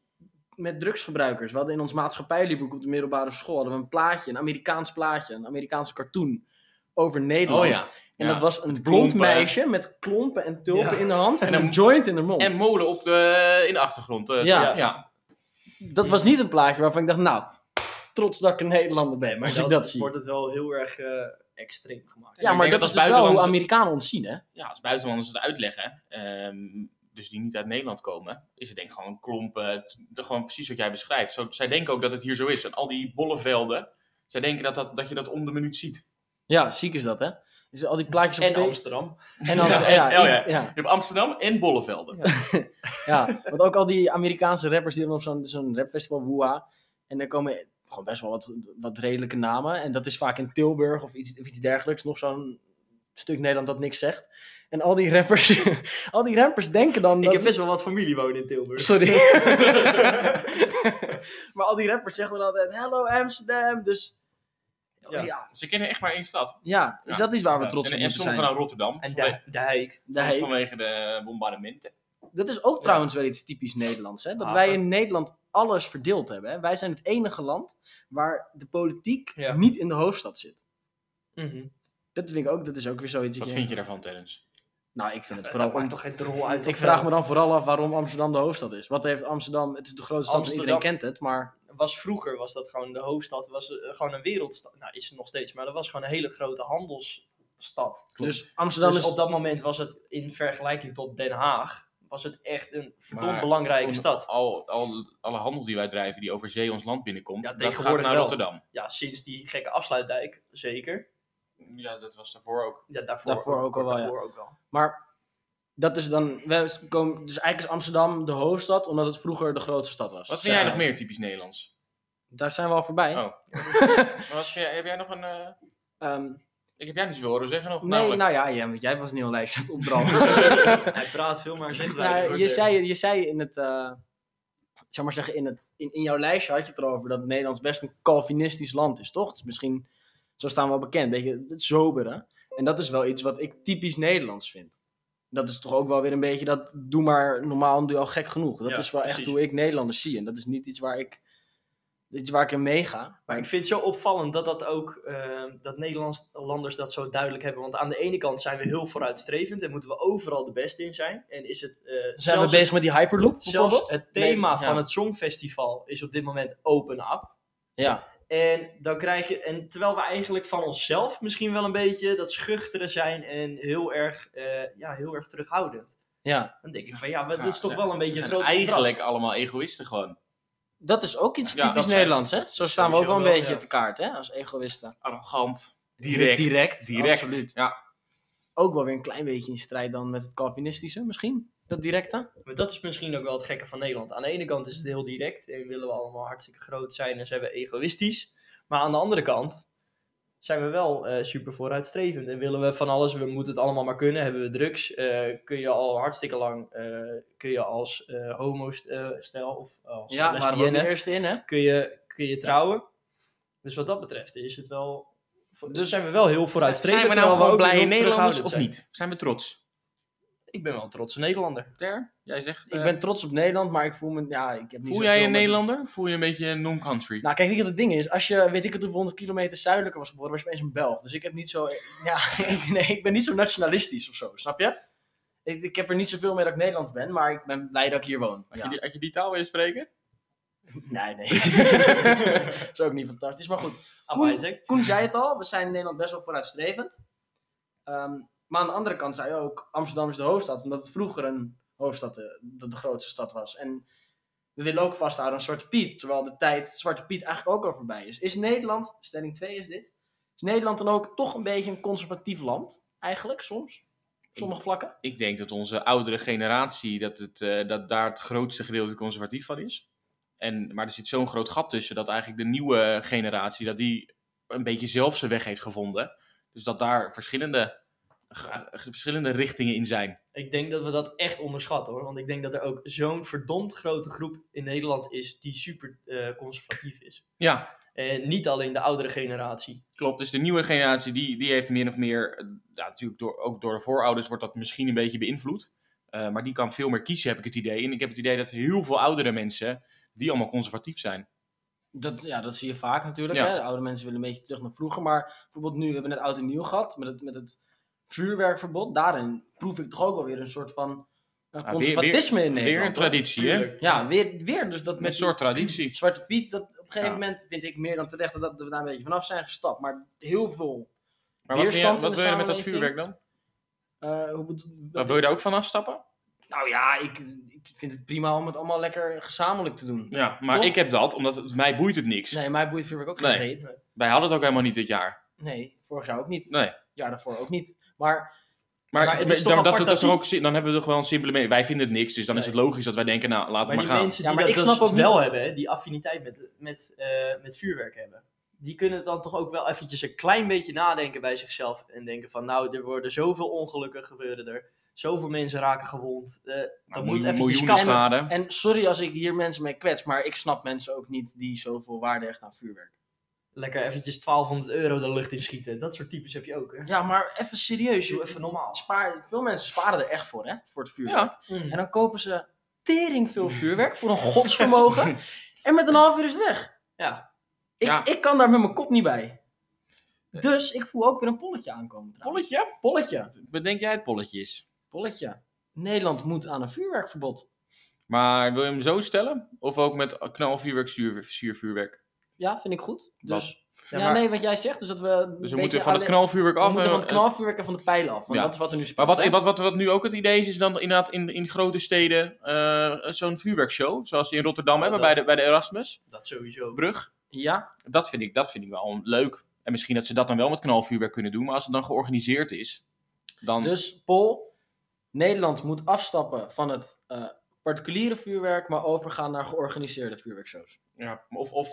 [SPEAKER 2] met drugsgebruikers. We hadden in ons maatschappijlieboek op de middelbare school hadden we een plaatje, een Amerikaans plaatje, een Amerikaanse cartoon over Nederland.
[SPEAKER 3] Oh ja.
[SPEAKER 2] En
[SPEAKER 3] Ja.
[SPEAKER 2] dat was een blond
[SPEAKER 3] klompen.
[SPEAKER 2] meisje met klompen en tulpen
[SPEAKER 1] Ja.
[SPEAKER 2] in de hand en,
[SPEAKER 3] En
[SPEAKER 2] een
[SPEAKER 3] een-
[SPEAKER 2] joint in de mond.
[SPEAKER 3] En molen op de, in de achtergrond. eh,
[SPEAKER 2] Ja.
[SPEAKER 3] toch? ja.
[SPEAKER 2] dat was niet een plaatje waarvan ik dacht, nou, trots dat ik een Nederlander ben
[SPEAKER 1] maar
[SPEAKER 2] als
[SPEAKER 1] dat,
[SPEAKER 2] ik dat zie.
[SPEAKER 1] wordt het wel heel erg eh, extreem gemaakt.
[SPEAKER 2] Ja,
[SPEAKER 3] Ik
[SPEAKER 2] maar dat,
[SPEAKER 3] denk dat
[SPEAKER 2] is
[SPEAKER 3] als
[SPEAKER 2] dus wel hoe
[SPEAKER 3] buitenlandse-
[SPEAKER 2] Amerikanen ons zien, hè?
[SPEAKER 3] ja, als buitenlanders het uitleggen, ehm, dus die niet uit Nederland komen, is het denk ik gewoon een klomp, eh, t- de- gewoon precies wat jij beschrijft. Zo, zij denken ook dat het hier zo is. En al die bolle velden, zij denken dat, dat, dat je dat om de minuut ziet.
[SPEAKER 2] Ja, ziek is dat, hè? Dus al die plaatjes op
[SPEAKER 1] En
[SPEAKER 2] Facebook-
[SPEAKER 1] Amsterdam.
[SPEAKER 2] En dan, ja,
[SPEAKER 3] Ja,
[SPEAKER 2] ja,
[SPEAKER 3] en- oh
[SPEAKER 2] ja,
[SPEAKER 3] ja.
[SPEAKER 2] ja,
[SPEAKER 3] Je hebt Amsterdam en bolle velden.
[SPEAKER 2] Want ook al die Amerikaanse rappers die hebben op zo'n zo'n rapfestival, Woeha. En daar komen gewoon best wel wat, wat redelijke namen. En dat is vaak in Tilburg of iets, of iets dergelijks. Nog zo'n stuk Nederland dat niks zegt. En al die rappers, al die rappers denken dan
[SPEAKER 1] Ik
[SPEAKER 2] dat...
[SPEAKER 1] heb best wel wat familie wonen in Tilburg.
[SPEAKER 2] Sorry. maar al die rappers zeggen dan altijd, hello Amsterdam. Dus ja,
[SPEAKER 1] Ja.
[SPEAKER 2] ja,
[SPEAKER 3] Ze kennen echt maar één stad.
[SPEAKER 2] is
[SPEAKER 3] Ja.
[SPEAKER 2] dat iets waar we
[SPEAKER 3] Ja.
[SPEAKER 2] trots
[SPEAKER 3] en,
[SPEAKER 2] op
[SPEAKER 3] en
[SPEAKER 2] moeten
[SPEAKER 3] sommigen
[SPEAKER 2] zijn?
[SPEAKER 3] naar Rotterdam.
[SPEAKER 1] En
[SPEAKER 3] vanwege,
[SPEAKER 1] de, de Heik.
[SPEAKER 2] De Heik.
[SPEAKER 3] vanwege de bombardementen.
[SPEAKER 2] Dat is ook
[SPEAKER 1] Ja.
[SPEAKER 2] trouwens wel iets typisch Nederlands. Hè? Dat
[SPEAKER 3] Ah,
[SPEAKER 1] Haven.
[SPEAKER 2] wij in Nederland alles verdeeld hebben. Hè? Wij zijn het enige land waar de politiek
[SPEAKER 1] Ja.
[SPEAKER 2] niet in de hoofdstad zit.
[SPEAKER 1] Mhm.
[SPEAKER 2] Dat vind ik ook, dat is ook weer zoiets.
[SPEAKER 3] Wat
[SPEAKER 2] ik
[SPEAKER 3] vind
[SPEAKER 2] denk-
[SPEAKER 3] je daarvan, Terrence?
[SPEAKER 2] Nou, ik vind het
[SPEAKER 1] Daar
[SPEAKER 2] vooral.
[SPEAKER 1] komt toch geen rol uit.
[SPEAKER 2] ik vraag me dan vooral af waarom Amsterdam de hoofdstad is. Wat heeft Amsterdam? Het is de grootste stad en iedereen
[SPEAKER 1] Amsterdam-
[SPEAKER 2] kent het, maar
[SPEAKER 1] was vroeger was dat gewoon de hoofdstad, was eh, gewoon een wereldstad. Nou, is het nog steeds, maar dat was gewoon een hele grote handelsstad.
[SPEAKER 2] dus Amsterdam
[SPEAKER 1] dus
[SPEAKER 2] is.
[SPEAKER 1] op dat moment was het in vergelijking tot Den Haag, was het echt een verdomd
[SPEAKER 3] Maar-
[SPEAKER 1] belangrijke stad.
[SPEAKER 3] Al, al, alle handel die wij drijven die over zee ons land binnenkomt,
[SPEAKER 1] Ja,
[SPEAKER 3] dat gaat
[SPEAKER 1] tegenwoordig
[SPEAKER 3] naar
[SPEAKER 1] wel.
[SPEAKER 3] Rotterdam.
[SPEAKER 1] Ja, sinds die gekke afsluitdijk, zeker.
[SPEAKER 3] Ja, dat was daarvoor ook.
[SPEAKER 1] Ja, daarvoor,
[SPEAKER 2] Daarvoor ook al wel, ja.
[SPEAKER 1] daarvoor ook wel.
[SPEAKER 2] Maar dat is dan. We komen, dus eigenlijk is Amsterdam de hoofdstad omdat het vroeger de grootste stad was.
[SPEAKER 3] Wat vind jij
[SPEAKER 2] Ja.
[SPEAKER 3] nog meer typisch Nederlands?
[SPEAKER 2] Daar zijn we al voorbij.
[SPEAKER 3] Oh. Maar wat vind jij, heb jij nog een... eh,
[SPEAKER 2] Ehm,
[SPEAKER 3] Ik heb jij niet zo horen zeggen nog.
[SPEAKER 2] nee,
[SPEAKER 3] namelijk.
[SPEAKER 2] nou ja, ja, want jij was niet al lijstje aan het opdrammen.
[SPEAKER 1] Hij praat veel, maar zegt
[SPEAKER 2] Nou,
[SPEAKER 1] weinig. hoor,
[SPEAKER 2] je,
[SPEAKER 1] Dirk.
[SPEAKER 2] zei, je zei in het. eh, zeg maar zeggen, in, het, in, in jouw lijstje had je het erover dat Nederlands best een Calvinistisch land is, toch? Het is misschien, zo staan we wel bekend, een beetje het sobere. En dat is wel iets wat ik typisch Nederlands vind. Dat is toch ook wel weer een beetje dat doe maar normaal en doe je al gek genoeg. Dat
[SPEAKER 1] Ja,
[SPEAKER 2] is wel echt
[SPEAKER 1] precies.
[SPEAKER 2] hoe ik Nederlanders zie. En dat is niet iets waar ik, iets waar ik in meega.
[SPEAKER 1] Maar ik vind het zo opvallend dat dat ook, eh, dat Nederlanders dat zo duidelijk hebben. Want aan de ene kant zijn we heel vooruitstrevend en moeten we overal de beste in zijn. En is het, eh,
[SPEAKER 2] Zijn we
[SPEAKER 1] zelfs
[SPEAKER 2] bezig met die Hyperloop bijvoorbeeld?
[SPEAKER 1] Zelfs het thema
[SPEAKER 2] Nee,
[SPEAKER 1] van
[SPEAKER 2] ja.
[SPEAKER 1] het Songfestival is op dit moment open up.
[SPEAKER 2] Ja,
[SPEAKER 1] En dan krijg je, en terwijl we eigenlijk van onszelf misschien wel een beetje dat schuchtere zijn en heel erg, eh, ja, heel erg terughoudend.
[SPEAKER 2] ja.
[SPEAKER 1] Dan denk ik van ja, maar dat is toch
[SPEAKER 3] Ja,
[SPEAKER 1] wel een beetje
[SPEAKER 3] We
[SPEAKER 1] een
[SPEAKER 3] zijn
[SPEAKER 1] groot
[SPEAKER 3] eigenlijk
[SPEAKER 1] contrast.
[SPEAKER 3] allemaal egoïsten gewoon.
[SPEAKER 2] Dat is ook iets
[SPEAKER 3] Ja,
[SPEAKER 2] typisch
[SPEAKER 3] dat zijn-
[SPEAKER 2] Nederlands, hè? Zo staan we ook
[SPEAKER 1] sowieso
[SPEAKER 2] wel een
[SPEAKER 1] wel,
[SPEAKER 2] beetje
[SPEAKER 1] ja.
[SPEAKER 2] te kaart, hè? Als egoïsten.
[SPEAKER 3] Arrogant. Direct.
[SPEAKER 2] Direct,
[SPEAKER 3] Direct.
[SPEAKER 2] absoluut.
[SPEAKER 3] Ja.
[SPEAKER 2] ook wel weer een klein beetje in strijd dan met het Calvinistische misschien. Dat directe.
[SPEAKER 1] Maar dat is misschien ook wel het gekke van Nederland. Aan de ene kant is het heel direct en willen we allemaal hartstikke groot zijn en zijn we egoïstisch. Maar aan de andere kant zijn we wel eh, super vooruitstrevend en willen we van alles, we moeten het allemaal maar kunnen. Hebben we drugs, eh, kun je al hartstikke lang, eh, kun je als eh homo-stel of als
[SPEAKER 2] waren we ook de
[SPEAKER 1] lesbienne,
[SPEAKER 2] eerste in, hè?
[SPEAKER 1] kun je, kun je trouwen. Dus wat dat betreft is het wel, dus zijn we wel heel
[SPEAKER 3] Zijn
[SPEAKER 1] vooruitstrevend.
[SPEAKER 3] we nou
[SPEAKER 1] terwijl
[SPEAKER 3] gewoon
[SPEAKER 1] ook
[SPEAKER 3] blij
[SPEAKER 1] heel
[SPEAKER 3] Nederlanders
[SPEAKER 1] terughoudend
[SPEAKER 3] of
[SPEAKER 1] zijn.
[SPEAKER 3] niet? Zijn we trots?
[SPEAKER 1] Ik ben wel een trotse Nederlander.
[SPEAKER 3] Ter, jij zegt...
[SPEAKER 2] Ik
[SPEAKER 3] eh,
[SPEAKER 2] ben trots op Nederland, maar ik voel me... Ja, ik heb niet
[SPEAKER 3] voel
[SPEAKER 2] zoveel
[SPEAKER 3] jij een
[SPEAKER 2] met-
[SPEAKER 3] Nederlander? Voel je een beetje een non-country?
[SPEAKER 2] Nou, kijk, weet je wat het ding is? Als je, weet ik het, hoeveel honderd kilometer zuidelijker was geboren, was je opeens een Belg. Dus ik heb niet zo... Ja, ik- nee, ik ben niet zo nationalistisch of zo, snap je? Ik, ik heb er niet zoveel mee dat ik Nederlands ben, maar ik ben blij dat ik hier woon.
[SPEAKER 3] had,
[SPEAKER 2] Ja.
[SPEAKER 3] je die, had je die taal willen spreken?
[SPEAKER 2] Nee, nee. dat is ook niet fantastisch, maar goed. Koen.
[SPEAKER 1] Amazing.
[SPEAKER 2] Koen zei het al, we zijn in Nederland best wel vooruitstrevend. Ehm, maar aan de andere kant zei je ook, Amsterdam is de hoofdstad. Omdat het vroeger een hoofdstad, de, de, de grootste stad was. En we willen ook vasthouden aan Zwarte Piet. Terwijl de tijd Zwarte Piet eigenlijk ook al voorbij is. Is Nederland, stelling 2 is dit. Is Nederland dan ook toch een beetje een conservatief land? Eigenlijk, soms. Op sommige vlakken.
[SPEAKER 3] Ik denk dat onze oudere generatie, dat, het, eh, dat daar het grootste gedeelte conservatief van is. En, maar er zit zo'n groot gat tussen dat eigenlijk de nieuwe generatie, dat die een beetje zelf zijn weg heeft gevonden. Dus dat daar verschillende, ga- verschillende richtingen in zijn.
[SPEAKER 1] Ik denk dat we dat echt onderschatten hoor. Want ik denk dat er ook zo'n verdomd grote groep in Nederland is die super eh, conservatief is.
[SPEAKER 3] Ja,
[SPEAKER 1] En niet alleen de oudere generatie.
[SPEAKER 3] Klopt, dus de nieuwe generatie die, die heeft meer of meer, eh, ja, natuurlijk door, ook door de voorouders wordt dat misschien een beetje beïnvloed. Eh, maar die kan veel meer kiezen, heb ik het idee. En ik heb het idee dat heel veel oudere mensen, die allemaal conservatief zijn.
[SPEAKER 2] Dat, ja, dat zie je vaak natuurlijk.
[SPEAKER 3] Ja.
[SPEAKER 2] Hè? De oude mensen willen een beetje terug naar vroeger. Maar bijvoorbeeld nu, we hebben net oud en nieuw gehad. Met het, met het vuurwerkverbod. Daarin proef ik toch ook wel weer een soort van eh,
[SPEAKER 3] weer-
[SPEAKER 2] conservatisme in Nederland.
[SPEAKER 3] Weer een
[SPEAKER 2] hoor.
[SPEAKER 3] traditie, hè?
[SPEAKER 1] Tuurlijk.
[SPEAKER 2] Ja, weer, weer dus dat
[SPEAKER 3] Met een
[SPEAKER 2] met
[SPEAKER 3] soort
[SPEAKER 2] die
[SPEAKER 3] traditie.
[SPEAKER 2] Zwarte Piet. Dat op een gegeven
[SPEAKER 3] Ja.
[SPEAKER 2] moment vind ik meer dan terecht dat, dat we daar een beetje vanaf zijn gestapt. Maar heel veel.
[SPEAKER 3] Maar wat, vind je,
[SPEAKER 2] Weerstand in
[SPEAKER 3] wat
[SPEAKER 2] de
[SPEAKER 3] wil je met dat
[SPEAKER 2] samenleving?
[SPEAKER 3] vuurwerk dan?
[SPEAKER 2] eh, hoe bedo-
[SPEAKER 3] Wat, wil je daar ook van afstappen?
[SPEAKER 2] Nou ja, ik, ik vind het prima om het allemaal lekker gezamenlijk te doen.
[SPEAKER 3] Ja, maar
[SPEAKER 2] Toch?
[SPEAKER 3] ik heb dat, omdat het, mij boeit het niks.
[SPEAKER 2] Nee, mij boeit vuurwerk ook
[SPEAKER 3] Nee.
[SPEAKER 2] geen reet.
[SPEAKER 3] Wij hadden het ook helemaal niet dit jaar.
[SPEAKER 2] Nee, vorig jaar ook niet.
[SPEAKER 3] Nee.
[SPEAKER 2] jaar daarvoor ook niet. Maar
[SPEAKER 3] Maar,
[SPEAKER 1] Maar het is toch
[SPEAKER 3] dan, dat,
[SPEAKER 1] apart
[SPEAKER 3] dat
[SPEAKER 1] dat
[SPEAKER 3] is
[SPEAKER 1] die-
[SPEAKER 3] er ook, zin- dan hebben we toch wel een simpele mening. Wij vinden het niks, dus dan is
[SPEAKER 1] Nee.
[SPEAKER 3] het logisch dat wij denken, nou, laten we
[SPEAKER 1] Maar
[SPEAKER 3] maar
[SPEAKER 1] die
[SPEAKER 3] gaan.
[SPEAKER 1] mensen die
[SPEAKER 2] Ja, maar
[SPEAKER 1] dat
[SPEAKER 2] ik
[SPEAKER 1] dus
[SPEAKER 2] snap ook niet
[SPEAKER 1] wel
[SPEAKER 2] dat-
[SPEAKER 1] hebben, hè, die affiniteit met, met, eh, met vuurwerk hebben. Die kunnen dan toch ook wel eventjes een klein beetje nadenken bij zichzelf. En denken van nou, er worden zoveel ongelukken gebeuren er. Zoveel mensen raken gewond. eh dat moet
[SPEAKER 3] Nou, miljoen-
[SPEAKER 1] eventjes
[SPEAKER 3] miljoenen
[SPEAKER 1] kappen.
[SPEAKER 3] schade.
[SPEAKER 2] en sorry als ik hier mensen mee kwets, maar ik snap mensen ook niet die zoveel waarde hechten aan vuurwerk.
[SPEAKER 1] Lekker eventjes 1200 euro de lucht in schieten. Dat soort types heb je ook. Hè?
[SPEAKER 2] Ja, maar even serieus, joh.
[SPEAKER 1] Doe even normaal.
[SPEAKER 2] Spaar, veel mensen sparen er echt voor, hè? Voor het vuurwerk.
[SPEAKER 3] Ja.
[SPEAKER 2] En dan kopen ze tering veel vuurwerk voor een godsvermogen. en met een half uur is het weg.
[SPEAKER 1] Ja.
[SPEAKER 2] Ik,
[SPEAKER 3] Ja.
[SPEAKER 2] ik kan daar met mijn kop niet bij. Dus ik voel ook weer een polletje aankomen. trouwens.
[SPEAKER 3] Polletje?
[SPEAKER 2] Polletje.
[SPEAKER 3] Wat denk jij het polletje is?
[SPEAKER 2] Polletje. Nederland moet aan een vuurwerkverbod.
[SPEAKER 3] Maar wil je hem zo stellen? Of ook met knalvuurwerk, zuur- zuurvuurwerk? Dus
[SPEAKER 2] Ja, vind ik goed.
[SPEAKER 3] Wat?
[SPEAKER 2] Dus,
[SPEAKER 1] Ja,
[SPEAKER 2] ja,
[SPEAKER 1] maar-
[SPEAKER 2] nee, wat jij zegt, dus dat we. een
[SPEAKER 3] Dus
[SPEAKER 2] beetje
[SPEAKER 3] we moeten van het
[SPEAKER 2] alleen-
[SPEAKER 3] knalvuurwerk af.
[SPEAKER 2] We moeten
[SPEAKER 3] en-
[SPEAKER 2] van het knalvuurwerk en van de pijlen af. Want
[SPEAKER 3] eh, Ja.
[SPEAKER 2] dat is wat er nu speelt.
[SPEAKER 3] Maar wat,
[SPEAKER 2] hè?
[SPEAKER 3] wat, wat, wat nu ook het idee is, is dan inderdaad in, in grote steden eh, zo'n vuurwerkshow. Zoals die in Rotterdam
[SPEAKER 1] Oh,
[SPEAKER 3] hebben
[SPEAKER 1] dat-
[SPEAKER 3] bij de, bij de Erasmusbrug.
[SPEAKER 1] Dat sowieso.
[SPEAKER 2] Ja,
[SPEAKER 3] Dat vind, ik, dat vind ik wel leuk. En misschien dat ze dat dan wel met knalvuurwerk kunnen doen. Maar als het dan georganiseerd is, dan...
[SPEAKER 2] dus Pol, Nederland moet afstappen van het eh, particuliere vuurwerk, maar overgaan naar georganiseerde vuurwerkshows.
[SPEAKER 3] Ja, of, of,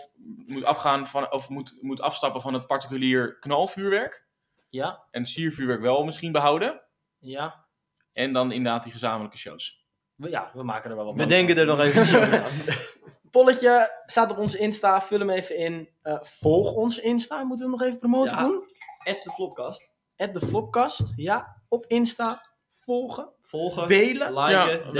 [SPEAKER 3] moet, afgaan van, of moet, moet afstappen van het particulier knalvuurwerk.
[SPEAKER 2] Ja,
[SPEAKER 3] En siervuurwerk wel misschien behouden.
[SPEAKER 2] ja.
[SPEAKER 3] En dan inderdaad die gezamenlijke shows.
[SPEAKER 2] We, ja, we maken er wel wat
[SPEAKER 1] We
[SPEAKER 2] van.
[SPEAKER 1] denken er nog eventjes over na.
[SPEAKER 2] Polletje staat op onze Insta, vul hem even in. Eh, volg ons Insta, moeten we hem nog even promoten
[SPEAKER 1] Ja.
[SPEAKER 2] doen?
[SPEAKER 1] At de Flopkast.
[SPEAKER 2] At de Flopkast, ja, op Insta, volgen,
[SPEAKER 1] Volgen,
[SPEAKER 2] delen.
[SPEAKER 1] liken,
[SPEAKER 3] ja,
[SPEAKER 1] delen.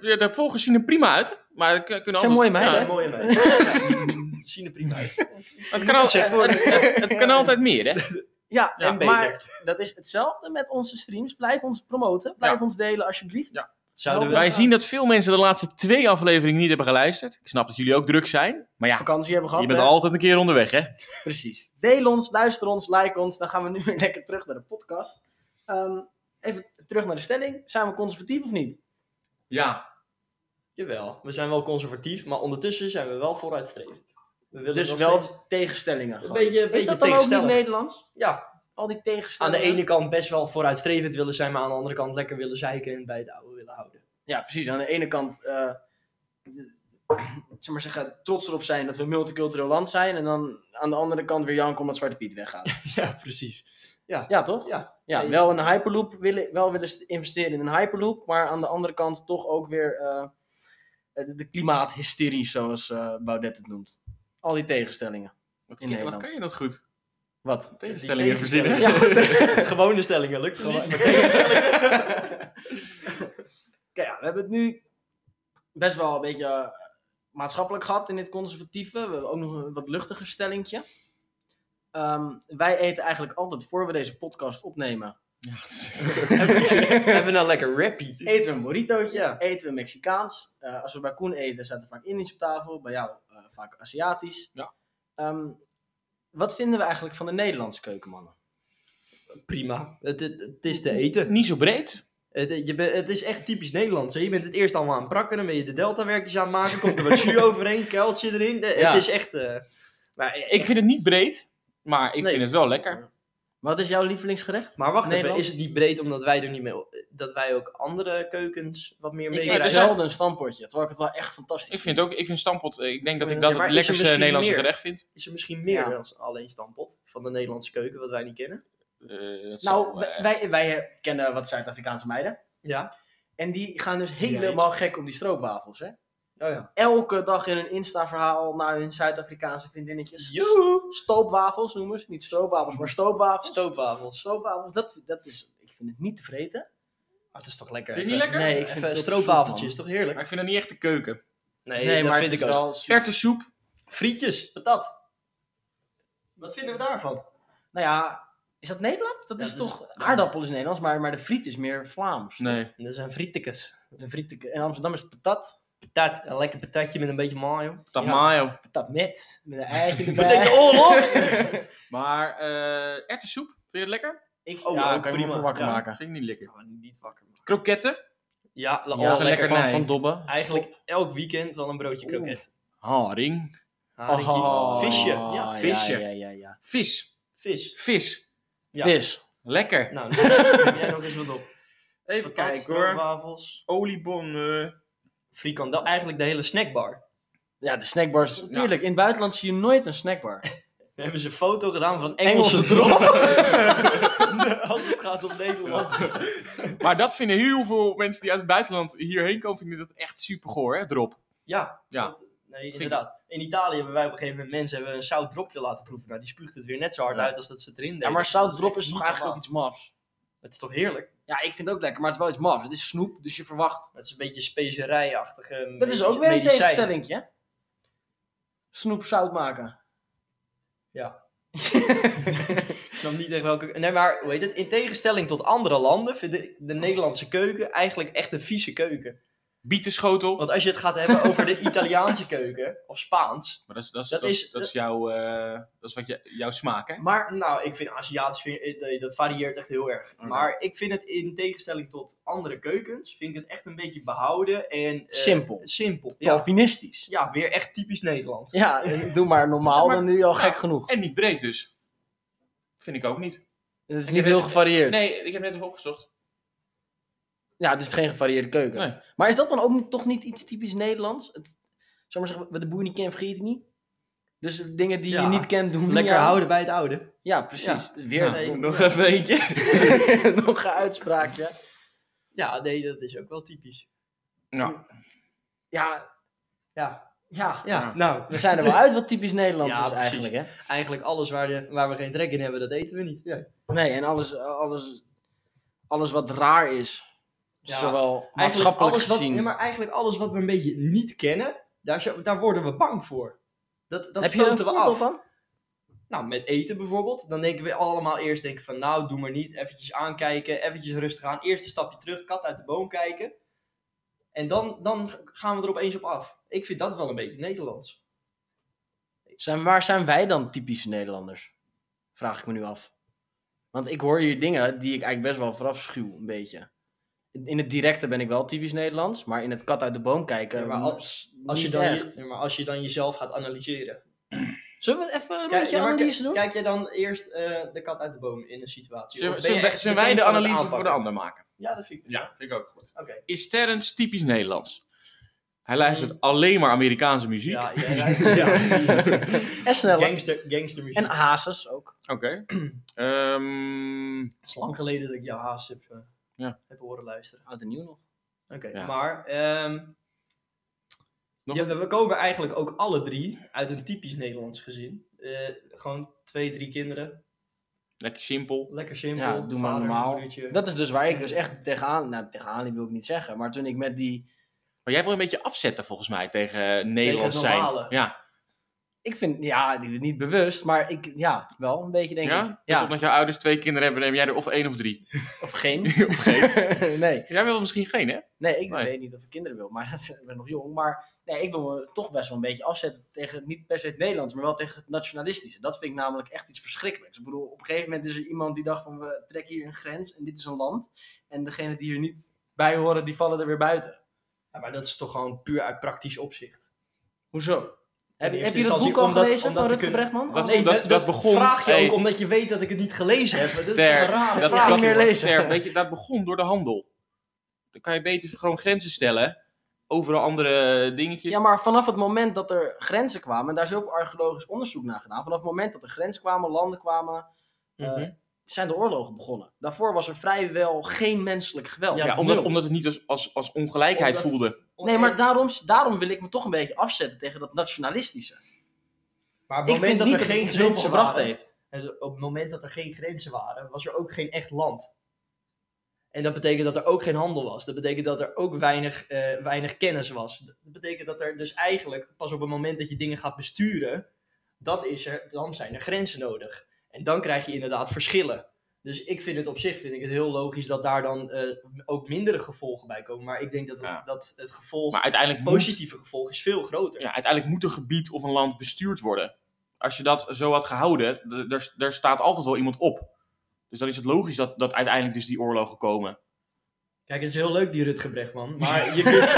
[SPEAKER 3] we, ja, de volgers zien er prima uit. Maar het, kunnen
[SPEAKER 2] zijn mooie
[SPEAKER 1] Ja,
[SPEAKER 2] meisjes,
[SPEAKER 3] ja,
[SPEAKER 2] hè?
[SPEAKER 1] mooie meiden. Zien er prima uit.
[SPEAKER 3] het, kan al-
[SPEAKER 1] gezegd worden.
[SPEAKER 3] het- het- het kan altijd meer, hè?
[SPEAKER 2] Ja,
[SPEAKER 3] Ja,
[SPEAKER 2] en
[SPEAKER 1] beter.
[SPEAKER 2] maar dat is hetzelfde met onze streams. Blijf ons promoten. Blijf
[SPEAKER 3] Ja.
[SPEAKER 2] ons delen alsjeblieft.
[SPEAKER 3] Ja.
[SPEAKER 1] Zouden
[SPEAKER 2] Wij
[SPEAKER 1] we...
[SPEAKER 3] Wij zien dat veel mensen de laatste twee afleveringen niet hebben geluisterd. Ik snap dat jullie ook druk zijn. Maar ja,
[SPEAKER 2] Vakantie hebben gehad.
[SPEAKER 3] je bent
[SPEAKER 2] hè?
[SPEAKER 3] altijd een keer onderweg, hè?
[SPEAKER 2] Precies. Deel ons, luister ons, like ons. Dan gaan we nu weer lekker terug naar de podcast. Ehm, even terug naar de stelling. Zijn we conservatief of niet?
[SPEAKER 3] Ja.
[SPEAKER 1] Jawel, we zijn wel conservatief, maar ondertussen zijn we wel vooruitstrevend. We willen
[SPEAKER 2] Dus
[SPEAKER 1] nog
[SPEAKER 2] wel
[SPEAKER 1] steeds-
[SPEAKER 2] tegenstellingen.
[SPEAKER 1] een
[SPEAKER 2] gewoon.
[SPEAKER 1] beetje, een beetje
[SPEAKER 2] is dat dan ook niet
[SPEAKER 1] tegenstellig.
[SPEAKER 2] Nederlands?
[SPEAKER 1] ja,
[SPEAKER 2] Al die
[SPEAKER 1] aan de
[SPEAKER 2] tegenstellingen.
[SPEAKER 1] ene kant best wel vooruitstrevend willen zijn, maar aan de andere kant lekker willen zeiken en bij het oude willen houden.
[SPEAKER 2] Ja, precies. Aan de ene kant, eh, de- zeg maar zeggen, trots erop zijn dat we een multicultureel land zijn. En dan aan de andere kant weer janken omdat Zwarte Piet weggaat.
[SPEAKER 1] Ja, precies.
[SPEAKER 2] Ja, toch?
[SPEAKER 1] Ja.
[SPEAKER 2] Ja,
[SPEAKER 1] Nee.
[SPEAKER 2] wel een Hyperloop willen, wel willen st- investeren in een Hyperloop, maar aan de andere kant toch ook weer eh, de, de klimaathysterie, zoals eh, Baudet het noemt. Al die tegenstellingen.
[SPEAKER 3] Wat,
[SPEAKER 2] In Nederland.
[SPEAKER 3] je dat goed?
[SPEAKER 2] Wat?
[SPEAKER 1] Die tegenstellingen.
[SPEAKER 2] Ja, goed.
[SPEAKER 1] Gewone stellingen lukt het niet, maar
[SPEAKER 2] hebben het nu best wel een beetje eh, maatschappelijk gehad in dit conservatieve. We hebben ook nog een wat luchtiger stellingtje. Ehm, wij eten eigenlijk altijd voor we deze podcast opnemen.
[SPEAKER 1] Even een lekker rappie.
[SPEAKER 2] Eten we een moritootje,
[SPEAKER 1] Ja.
[SPEAKER 2] eten we Mexicaans. Eh, als we bij Koen eten, staat er vaak Indisch op tafel. Bij jou eh, vaak Aziatisch.
[SPEAKER 3] Ja.
[SPEAKER 2] Ehm, wat vinden we eigenlijk van de Nederlandse keukenmannen?
[SPEAKER 1] Prima. Het, het, het is te eten.
[SPEAKER 3] Niet zo breed.
[SPEAKER 1] Het, eh, je bent- het is echt typisch Nederlands. hè. Je bent het eerst allemaal aan het prakken, dan ben je de deltawerkjes aan het maken, komt er wat jus overheen, kuiltje erin. De-
[SPEAKER 3] Ja.
[SPEAKER 1] Het is echt... eh, maar, eh,
[SPEAKER 3] Ik vind het niet breed, maar ik
[SPEAKER 1] Nee.
[SPEAKER 3] vind het wel lekker.
[SPEAKER 2] Wat is jouw lievelingsgerecht?
[SPEAKER 1] maar wacht even,
[SPEAKER 2] Nederland?
[SPEAKER 1] is het niet breed omdat wij er niet mee... Dat wij ook andere keukens wat meer
[SPEAKER 2] Ik
[SPEAKER 1] mee
[SPEAKER 2] eet
[SPEAKER 3] is-
[SPEAKER 2] zelden een stampotje, terwijl ik het wel echt fantastisch
[SPEAKER 3] Ik vind, ook, ik vind stampot, eh, ik denk dat ik
[SPEAKER 1] Ja,
[SPEAKER 3] dat
[SPEAKER 1] maar
[SPEAKER 3] het
[SPEAKER 1] is er
[SPEAKER 3] lekkerste
[SPEAKER 1] misschien
[SPEAKER 3] Nederlandse
[SPEAKER 1] meer?
[SPEAKER 3] gerecht vind.
[SPEAKER 1] Is er misschien meer
[SPEAKER 2] Ja.
[SPEAKER 1] dan alleen stampot van de Nederlandse keuken wat wij niet kennen?
[SPEAKER 3] Eh, dat
[SPEAKER 2] Nou,
[SPEAKER 3] zal, eh,
[SPEAKER 2] wij, wij, wij kennen wat Zuid-Afrikaanse meiden.
[SPEAKER 1] Ja.
[SPEAKER 2] En die gaan dus helemaal gek op die stroopwafels. Hè?
[SPEAKER 1] Oh ja.
[SPEAKER 2] Elke dag in hun Insta-verhaal naar hun Zuid-Afrikaanse vriendinnetjes.
[SPEAKER 1] Dus- Joe!
[SPEAKER 2] Stoopwafels noemen ze. Niet stroopwafels, maar stoopwafels.
[SPEAKER 1] Stoopwafels.
[SPEAKER 2] Stoopwafels, dat, dat is... Ik vind het niet te vreten.
[SPEAKER 1] Ah, het is toch lekker.
[SPEAKER 3] Vind je
[SPEAKER 1] even-
[SPEAKER 3] niet lekker?
[SPEAKER 1] Nee, ik
[SPEAKER 2] Even
[SPEAKER 1] vind het
[SPEAKER 2] goed,
[SPEAKER 1] stroopwafeltjes, toch heerlijk?
[SPEAKER 3] maar ik vind dat niet echt de keuken.
[SPEAKER 1] Nee,
[SPEAKER 2] het is wel super...
[SPEAKER 3] Erwtensoep.
[SPEAKER 1] Frietjes, patat. Wat vinden we daarvan?
[SPEAKER 2] Nou ja, is dat Nederland? Dat
[SPEAKER 1] Ja,
[SPEAKER 2] is
[SPEAKER 1] dat is-
[SPEAKER 2] toch... Aardappel is Nederlands, maar, maar de friet is meer Vlaams.
[SPEAKER 3] Nee.
[SPEAKER 1] Dat zijn frietekes.
[SPEAKER 2] Een friet, in Amsterdam is het patat.
[SPEAKER 1] Patat, een lekker patatje met een beetje mayo.
[SPEAKER 3] Dat
[SPEAKER 2] Ja.
[SPEAKER 3] mayo.
[SPEAKER 2] Patat met. Met een eitje erbij.
[SPEAKER 1] Meteen de oorlog!
[SPEAKER 3] Maar eh erwtensoep, vind je het lekker?
[SPEAKER 2] Ik,
[SPEAKER 1] Oh,
[SPEAKER 2] ja,
[SPEAKER 1] ook
[SPEAKER 2] kan je me
[SPEAKER 1] prima.
[SPEAKER 2] voor wakker
[SPEAKER 1] Ja.
[SPEAKER 2] maken.
[SPEAKER 3] Vind ik niet lekker.
[SPEAKER 1] Ja, niet wakker. maken.
[SPEAKER 3] Kroketten.
[SPEAKER 1] Ja, la-
[SPEAKER 3] Ja,
[SPEAKER 1] alles
[SPEAKER 3] ze
[SPEAKER 1] lekker.
[SPEAKER 3] lekker
[SPEAKER 2] van,
[SPEAKER 3] nee.
[SPEAKER 2] van dobben.
[SPEAKER 1] Eigenlijk elk weekend wel een broodje kroket.
[SPEAKER 3] Haring.
[SPEAKER 1] Haringkie.
[SPEAKER 2] Oh,
[SPEAKER 1] Visje.
[SPEAKER 2] ja,
[SPEAKER 1] Ja,
[SPEAKER 3] visje.
[SPEAKER 2] Ja, ja, ja.
[SPEAKER 3] Vis.
[SPEAKER 1] vis.
[SPEAKER 3] Vis.
[SPEAKER 1] Ja.
[SPEAKER 2] Vis.
[SPEAKER 3] Lekker.
[SPEAKER 1] Nou, nu- jij nog eens wat op.
[SPEAKER 3] Even
[SPEAKER 1] Patat,
[SPEAKER 3] kijken hoor.
[SPEAKER 1] stroopwafels.
[SPEAKER 3] Oliebollen.
[SPEAKER 1] Frikandel, eigenlijk de hele snackbar.
[SPEAKER 2] Ja, de snackbars. Tuurlijk, in het buitenland zie je nooit een snackbar.
[SPEAKER 1] Daar hebben ze een foto gedaan van
[SPEAKER 2] Engelse
[SPEAKER 1] Engelse drop. Als het gaat om Nederland.
[SPEAKER 3] Maar dat vinden heel veel mensen die uit het buitenland hierheen komen, vinden dat echt super goor, hè? Drop.
[SPEAKER 1] Ja,
[SPEAKER 3] Ja.
[SPEAKER 1] dat- nee, inderdaad. In Italië hebben wij op een gegeven moment mensen hebben een zout dropje laten proeven. Nou, die spuugt het weer net zo hard
[SPEAKER 3] Ja.
[SPEAKER 1] uit als dat ze het erin deden.
[SPEAKER 2] ja, maar zoutdrop is
[SPEAKER 1] echt
[SPEAKER 2] toch
[SPEAKER 1] niet
[SPEAKER 2] eigenlijk ook
[SPEAKER 1] normaal.
[SPEAKER 2] iets mafs?
[SPEAKER 1] Het is toch heerlijk?
[SPEAKER 2] Ja, ik vind het ook lekker, maar het is wel iets mafs. Het is snoep, dus je verwacht...
[SPEAKER 1] Het is een beetje specerijachtige
[SPEAKER 2] Dat is
[SPEAKER 1] medicijn.
[SPEAKER 2] ook weer een tegenstelling, hè? Snoep zout maken.
[SPEAKER 1] Ik snap niet echt welke... Nee, maar hoe heet het? In tegenstelling tot andere landen vind ik de Nederlandse keuken eigenlijk echt een vieze keuken.
[SPEAKER 3] Bietenschotel.
[SPEAKER 1] Want als je het gaat hebben over de Italiaanse keuken, of Spaans...
[SPEAKER 3] Maar dat is, dat is,
[SPEAKER 1] Dat
[SPEAKER 3] dat is,
[SPEAKER 1] is-
[SPEAKER 3] dat is jouw, eh, dat is wat je, jouw smaak, hè?
[SPEAKER 2] Maar
[SPEAKER 1] Nou, ik vind Aziatisch, vind- nee, dat varieert echt heel erg.
[SPEAKER 3] Oké.
[SPEAKER 1] Maar ik vind het in tegenstelling tot andere keukens, vind ik het echt een beetje behouden en... eh,
[SPEAKER 2] simpel.
[SPEAKER 1] Simpel, ja.
[SPEAKER 2] Calvinistisch.
[SPEAKER 1] Ja, weer echt typisch Nederland.
[SPEAKER 2] Ja, en doe maar normaal,
[SPEAKER 3] Ja, maar-
[SPEAKER 2] dan doe je al
[SPEAKER 3] ja.
[SPEAKER 2] gek genoeg.
[SPEAKER 3] En niet breed dus. Vind ik ook niet.
[SPEAKER 2] Het is niet heel gevarieerd.
[SPEAKER 3] Nee, ik heb net even opgezocht.
[SPEAKER 2] Ja, het is geen gevarieerde keuken.
[SPEAKER 3] Nee.
[SPEAKER 2] Maar is dat dan ook niet- toch niet iets typisch Nederlands? Het, zal maar zeggen, wat de boer niet kent, vergeet hij niet. Dus dingen die
[SPEAKER 1] Ja.
[SPEAKER 2] je niet kent, doen we niet
[SPEAKER 1] Lekker
[SPEAKER 2] aan.
[SPEAKER 1] houden bij het oude.
[SPEAKER 2] Ja, precies. Weer
[SPEAKER 3] Ja,
[SPEAKER 2] een-
[SPEAKER 1] nog
[SPEAKER 3] even eentje.
[SPEAKER 2] nog een uitspraakje.
[SPEAKER 1] Ja, nee, dat is ook wel typisch.
[SPEAKER 3] Nou,
[SPEAKER 2] Ja,
[SPEAKER 1] Ja,
[SPEAKER 2] ja.
[SPEAKER 1] ja,
[SPEAKER 3] Ja.
[SPEAKER 1] nou,
[SPEAKER 2] We zijn er wel uit wat typisch Nederlands
[SPEAKER 1] Ja,
[SPEAKER 2] is
[SPEAKER 1] precies.
[SPEAKER 2] eigenlijk, hè?
[SPEAKER 1] eigenlijk alles waar, de, waar we geen trek in hebben, dat eten we niet. Ja.
[SPEAKER 2] Nee, en alles, alles, alles wat raar is,
[SPEAKER 1] Ja,
[SPEAKER 2] zowel
[SPEAKER 1] Eigenlijk
[SPEAKER 2] maatschappelijk
[SPEAKER 1] alles wat,
[SPEAKER 2] gezien.
[SPEAKER 1] nee, maar eigenlijk alles wat we een beetje niet kennen, daar, zo- daar worden we bang voor. Dat, dat
[SPEAKER 2] Heb je er een
[SPEAKER 1] stoten we
[SPEAKER 2] voorbeeld
[SPEAKER 1] af.
[SPEAKER 2] van?
[SPEAKER 1] Nou, met eten bijvoorbeeld, dan denken we allemaal eerst denken van nou, doe maar niet, eventjes aankijken, eventjes rustig aan, eerste stapje terug, kat uit de boom kijken. En dan, dan gaan we er opeens op af. Ik vind dat wel een beetje Nederlands.
[SPEAKER 2] Zijn, waar zijn wij dan typisch Nederlanders? Vraag ik me nu af. Want ik hoor hier dingen die ik eigenlijk best wel verafschuw, een beetje. In het directe ben ik wel typisch Nederlands, maar in het kat uit de boom kijken. mm,
[SPEAKER 1] Ja, maar als, als, je
[SPEAKER 2] niet
[SPEAKER 1] dan je,
[SPEAKER 2] echt.
[SPEAKER 1] ja, maar als je dan jezelf gaat analyseren.
[SPEAKER 2] Zullen we even een
[SPEAKER 1] Kijk,
[SPEAKER 2] rondje
[SPEAKER 1] ja, maar
[SPEAKER 2] analyse doen?
[SPEAKER 1] Kijk jij dan eerst eh, de kat uit de boom in een situatie?
[SPEAKER 3] zullen,
[SPEAKER 1] Of ben
[SPEAKER 3] zullen
[SPEAKER 1] je
[SPEAKER 3] wij-
[SPEAKER 1] echt
[SPEAKER 3] zullen wij de
[SPEAKER 1] meteen van het
[SPEAKER 3] analyse voor de
[SPEAKER 1] aanpakken?
[SPEAKER 3] ander maken?
[SPEAKER 1] Ja, dat vind ik.
[SPEAKER 3] Ja, vind ik ook goed.
[SPEAKER 1] Oké.
[SPEAKER 3] Is Terrence typisch Nederlands? Hij luistert alleen maar Amerikaanse muziek.
[SPEAKER 1] Mm. Ja, ja, ja, ja.
[SPEAKER 2] En sneller.
[SPEAKER 1] Gangster, gangstermuziek.
[SPEAKER 2] En hazes ook.
[SPEAKER 3] Oké. Ehm,
[SPEAKER 1] Het is lang geleden dat ik jouw haast heb, eh,
[SPEAKER 3] Ja.
[SPEAKER 1] heb horen luisteren.
[SPEAKER 2] Oud en nieuw nog.
[SPEAKER 1] Oké,
[SPEAKER 3] Ja.
[SPEAKER 1] maar ehm,
[SPEAKER 3] Nog
[SPEAKER 1] ja, we- we komen eigenlijk ook alle drie uit een typisch Nederlands gezin. Eh, gewoon twee, drie kinderen.
[SPEAKER 3] Lekker simpel.
[SPEAKER 1] Lekker simpel.
[SPEAKER 2] Ja, doe maar
[SPEAKER 1] vader,
[SPEAKER 2] normaal.
[SPEAKER 1] moedertje.
[SPEAKER 2] Dat is dus waar ik dus echt tegenaan... Nou, tegenaan die wil ik niet zeggen. Maar toen ik met die...
[SPEAKER 3] Maar jij wil een beetje afzetten volgens mij tegen eh, Nederlands
[SPEAKER 1] Tegen het
[SPEAKER 3] zijn.
[SPEAKER 1] normale.
[SPEAKER 3] Ja.
[SPEAKER 2] Ik vind... Ja, die- niet bewust. Maar ik... Ja, wel een beetje denk
[SPEAKER 3] ja?
[SPEAKER 2] ik.
[SPEAKER 3] Dus
[SPEAKER 2] Ja.
[SPEAKER 3] omdat jouw ouders twee kinderen hebben, neem jij er of één of drie.
[SPEAKER 2] Of geen.
[SPEAKER 3] of geen.
[SPEAKER 2] nee.
[SPEAKER 3] Jij wil misschien geen, hè?
[SPEAKER 2] Nee, ik
[SPEAKER 3] Nee.
[SPEAKER 2] weet niet of ik kinderen wil, maar dat- ik ben nog jong. Maar nee, ik wil me toch best wel een beetje afzetten tegen niet per se het Nederlands, maar wel tegen het nationalistische. Dat vind ik namelijk echt iets verschrikkelijks. Ik bedoel, op een gegeven moment is er iemand die dacht van we trekken hier een grens en dit is een land. En degenen die hier niet bij horen, die vallen er weer buiten.
[SPEAKER 1] Ja, maar dat is toch gewoon puur uit praktisch opzicht.
[SPEAKER 2] Hoezo? Heb,
[SPEAKER 1] eerste
[SPEAKER 2] heb je dat
[SPEAKER 1] instantie
[SPEAKER 2] boek al
[SPEAKER 1] omdat-
[SPEAKER 2] gelezen
[SPEAKER 1] omdat
[SPEAKER 2] van
[SPEAKER 1] te
[SPEAKER 2] Rutger
[SPEAKER 1] kunnen-
[SPEAKER 2] Bregman?
[SPEAKER 3] Dat-
[SPEAKER 2] Oh,
[SPEAKER 1] nee,
[SPEAKER 3] dat-
[SPEAKER 1] dat,
[SPEAKER 3] dat begon-
[SPEAKER 1] vraag je
[SPEAKER 3] hey.
[SPEAKER 1] ook omdat je weet dat ik het niet gelezen heb. Dat is
[SPEAKER 3] Ter-
[SPEAKER 1] een rare
[SPEAKER 3] dat-
[SPEAKER 1] vraag.
[SPEAKER 2] niet
[SPEAKER 3] dat-
[SPEAKER 2] meer lezen.
[SPEAKER 3] Ter, weet je, dat begon door de handel. Dan kan je beter gewoon grenzen stellen. Overal andere dingetjes.
[SPEAKER 2] Ja, maar vanaf het moment dat er grenzen kwamen, en daar is heel veel archeologisch onderzoek naar gedaan, vanaf het moment dat er grenzen kwamen, landen kwamen, eh,
[SPEAKER 1] Mhm.
[SPEAKER 2] zijn de oorlogen begonnen. Daarvoor was er vrijwel geen menselijk geweld.
[SPEAKER 1] Ja,
[SPEAKER 3] Ja,
[SPEAKER 1] nul.
[SPEAKER 3] omdat, omdat het niet als, als, als ongelijkheid
[SPEAKER 1] Omdat-
[SPEAKER 3] voelde.
[SPEAKER 2] nee, maar daarom, daarom wil ik me toch een beetje afzetten tegen dat nationalistische.
[SPEAKER 1] Maar op
[SPEAKER 2] Ik
[SPEAKER 1] het moment
[SPEAKER 2] vind
[SPEAKER 1] dat
[SPEAKER 2] niet
[SPEAKER 1] er
[SPEAKER 2] dat het
[SPEAKER 1] geen
[SPEAKER 2] iets heel
[SPEAKER 1] grenzen
[SPEAKER 2] veel gebracht
[SPEAKER 1] waren,
[SPEAKER 2] heeft.
[SPEAKER 1] en op het moment dat er geen grenzen waren, was er ook geen echt land. En dat betekent dat er ook geen handel was. Dat betekent dat er ook weinig, eh, weinig kennis was. Dat betekent dat er dus eigenlijk pas op het moment dat je dingen gaat besturen, dan, is er, dan zijn er grenzen nodig. En dan krijg je inderdaad verschillen. Dus ik vind het op zich vind ik het heel logisch dat daar dan eh, ook mindere gevolgen bij komen. Maar ik denk dat,
[SPEAKER 3] Ja.
[SPEAKER 1] dat het gevolg,
[SPEAKER 3] Maar uiteindelijk moet,
[SPEAKER 1] positieve gevolg, is veel groter.
[SPEAKER 3] ja, uiteindelijk moet een gebied of een land bestuurd worden. Als je dat zo had gehouden, d- daar- daar staat altijd wel iemand op. Dus dan is het logisch dat, dat uiteindelijk dus die oorlogen komen.
[SPEAKER 1] Kijk, het is heel leuk die Rutger Bregman, maar je kunt,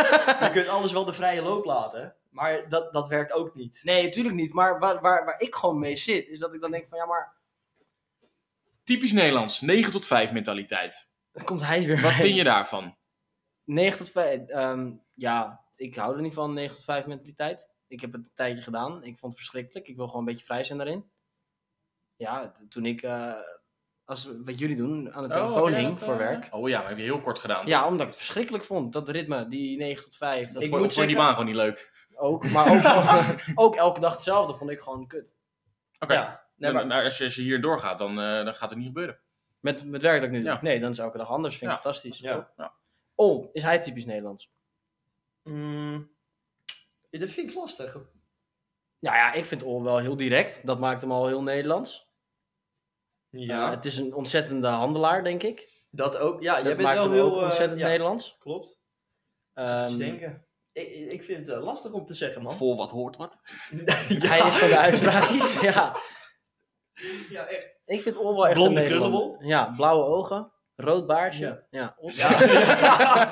[SPEAKER 1] je kunt alles wel de vrije loop laten. Maar dat, dat werkt ook niet.
[SPEAKER 2] Nee, natuurlijk niet. Maar waar, waar, waar ik gewoon mee zit, is dat ik dan denk van ja, maar
[SPEAKER 3] Typisch Nederlands, 9 tot 5 mentaliteit.
[SPEAKER 2] dan komt hij weer.
[SPEAKER 3] Wat vind je daarvan?
[SPEAKER 2] 9 tot 5. ehm, ja, ik hou er niet van 9 tot 5 mentaliteit. Ik heb het een tijdje gedaan. Ik vond het verschrikkelijk. Ik wil gewoon een beetje vrij zijn daarin. Ja, t- toen ik, eh, als wat jullie doen, aan de telefoon hing voor werk.
[SPEAKER 3] Oh ja, Oh, dat heb je heel kort gedaan.
[SPEAKER 2] Ja, omdat ik het verschrikkelijk vond. Dat ritme, die 9 tot 5. Dat
[SPEAKER 3] ik
[SPEAKER 1] Ik
[SPEAKER 3] vond,
[SPEAKER 1] moet
[SPEAKER 3] vond je die
[SPEAKER 1] zeggen-
[SPEAKER 3] baan gewoon niet leuk.
[SPEAKER 2] ook. Maar ook, ook elke dag hetzelfde vond ik gewoon kut.
[SPEAKER 3] Oké.
[SPEAKER 1] Ja, nee,
[SPEAKER 3] maar,
[SPEAKER 1] maar,
[SPEAKER 3] als, je, als je hierin doorgaat, dan, eh, dan gaat het niet gebeuren.
[SPEAKER 2] Met, met werk dat ik nu doe.
[SPEAKER 3] Ja.
[SPEAKER 2] Nee, dan is elke dag anders. Vind ik
[SPEAKER 3] Ja.
[SPEAKER 2] fantastisch.
[SPEAKER 1] ja.
[SPEAKER 2] Oh, is hij typisch Nederlands?
[SPEAKER 1] Mm, dat vind ik lastig.
[SPEAKER 2] Nou ja, ik vind Ol wel heel direct. Dat maakt hem al heel Nederlands.
[SPEAKER 1] Ja.
[SPEAKER 2] Eh, het is een ontzettende handelaar, denk ik.
[SPEAKER 1] dat ook. Ja, jij
[SPEAKER 2] dat
[SPEAKER 1] bent
[SPEAKER 2] maakt
[SPEAKER 1] wel
[SPEAKER 2] hem
[SPEAKER 1] heel
[SPEAKER 2] ook
[SPEAKER 1] eh,
[SPEAKER 2] ontzettend
[SPEAKER 1] ja,
[SPEAKER 2] Nederlands.
[SPEAKER 1] Klopt. Zit
[SPEAKER 2] Ehm,
[SPEAKER 1] te denken. Ik, ik vind het eh, lastig om te zeggen, man.
[SPEAKER 3] Vol wat hoort wat.
[SPEAKER 1] ja,
[SPEAKER 2] Hij is van de uitspraakjes, ja.
[SPEAKER 1] ja, echt.
[SPEAKER 2] Ik vind Ol wel echt
[SPEAKER 1] Blonde
[SPEAKER 2] een Nederlander.
[SPEAKER 1] krullenbol.
[SPEAKER 2] Ja, blauwe ogen. Rood baardje. Ja,
[SPEAKER 1] Ja.
[SPEAKER 2] Ol-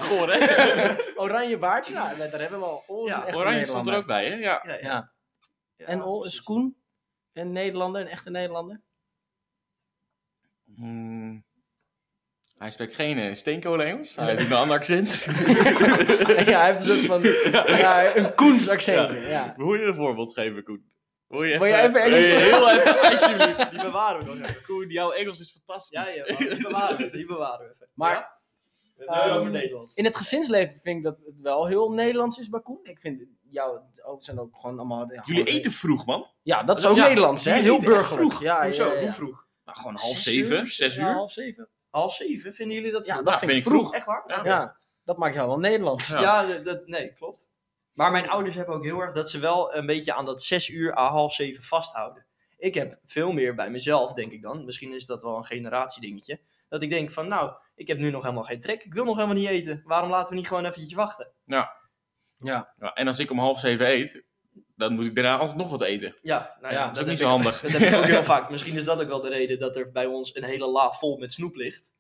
[SPEAKER 3] Goor, hè?
[SPEAKER 2] Oranje baardje. Ja, daar hebben we al. Ol is
[SPEAKER 1] Ja,
[SPEAKER 2] echt een
[SPEAKER 3] Oranje stond er
[SPEAKER 2] Nederlander.
[SPEAKER 3] ook bij, hè? Ja.
[SPEAKER 1] Ja, ja.
[SPEAKER 2] Ja. En Ol is
[SPEAKER 1] precies.
[SPEAKER 2] Koen. Een Nederlander, een echte Nederlander.
[SPEAKER 3] Hmm. Hij spreekt geen eh, steenkolen Engels. Hij heeft een ander accent.
[SPEAKER 2] ja, hij heeft een soort van ja, een Koens accentje. Ja.
[SPEAKER 3] Wil je een voorbeeld geven, Koen? Wil je,
[SPEAKER 2] Wil je even
[SPEAKER 3] wil je
[SPEAKER 2] Engels-
[SPEAKER 3] heel even, alsjeblieft.
[SPEAKER 1] Die bewaren we nog even.
[SPEAKER 3] Koen, jouw Engels is fantastisch.
[SPEAKER 1] Ja, ja, man, die bewaren we, die bewaren we even.
[SPEAKER 2] Maar
[SPEAKER 1] Ja? we hebben het
[SPEAKER 2] ehm,
[SPEAKER 1] over Nederland.
[SPEAKER 2] in het gezinsleven vind ik dat het wel heel Nederlands is bij Koen. Ik vind jou ook zijn ook gewoon allemaal. ja,
[SPEAKER 3] Jullie
[SPEAKER 2] gewoon-
[SPEAKER 3] eten vroeg, man.
[SPEAKER 2] Ja, dat is ook
[SPEAKER 3] Ja,
[SPEAKER 2] Nederlands, hè?
[SPEAKER 3] jullie
[SPEAKER 2] Heel
[SPEAKER 3] eten echt
[SPEAKER 2] burgerlijk.
[SPEAKER 3] vroeg.
[SPEAKER 2] Ja,
[SPEAKER 1] Hoezo?
[SPEAKER 2] ja, ja, ja.
[SPEAKER 1] Hoe vroeg?
[SPEAKER 3] Nou, gewoon half
[SPEAKER 2] Zes
[SPEAKER 3] zeven,
[SPEAKER 2] uur?
[SPEAKER 3] zes uur.
[SPEAKER 2] Ja, half zeven.
[SPEAKER 1] Half zeven, vinden jullie dat
[SPEAKER 2] Ja,
[SPEAKER 1] vroeg?
[SPEAKER 2] dat
[SPEAKER 3] Ja,
[SPEAKER 2] vind, ik vroeg.
[SPEAKER 1] Echt waar?
[SPEAKER 3] Ja.
[SPEAKER 2] Ja, dat maakt jou wel Nederlands.
[SPEAKER 3] Ja.
[SPEAKER 1] Ja, dat- dat, nee, klopt. Maar mijn ouders hebben ook heel erg dat ze wel een beetje aan dat zes uur à half zeven vasthouden. Ik heb veel meer bij mezelf, denk ik dan. Misschien is dat wel een generatiedingetje. Dat ik denk van, nou, ik heb nu nog helemaal geen trek. Ik wil nog helemaal niet eten. Waarom laten we niet gewoon eventjes wachten?
[SPEAKER 2] Ja,
[SPEAKER 3] Ja, en als ik om half zeven eet, dan moet ik daarna altijd nog wat eten.
[SPEAKER 1] Ja, nou ja,
[SPEAKER 2] Ja,
[SPEAKER 3] Dat is
[SPEAKER 1] dat,
[SPEAKER 3] ook niet
[SPEAKER 1] heb
[SPEAKER 3] zo
[SPEAKER 1] ik,
[SPEAKER 3] handig.
[SPEAKER 1] dat heb ik ook heel vaak. Misschien is dat ook wel de reden dat er bij ons een hele la vol met snoep ligt.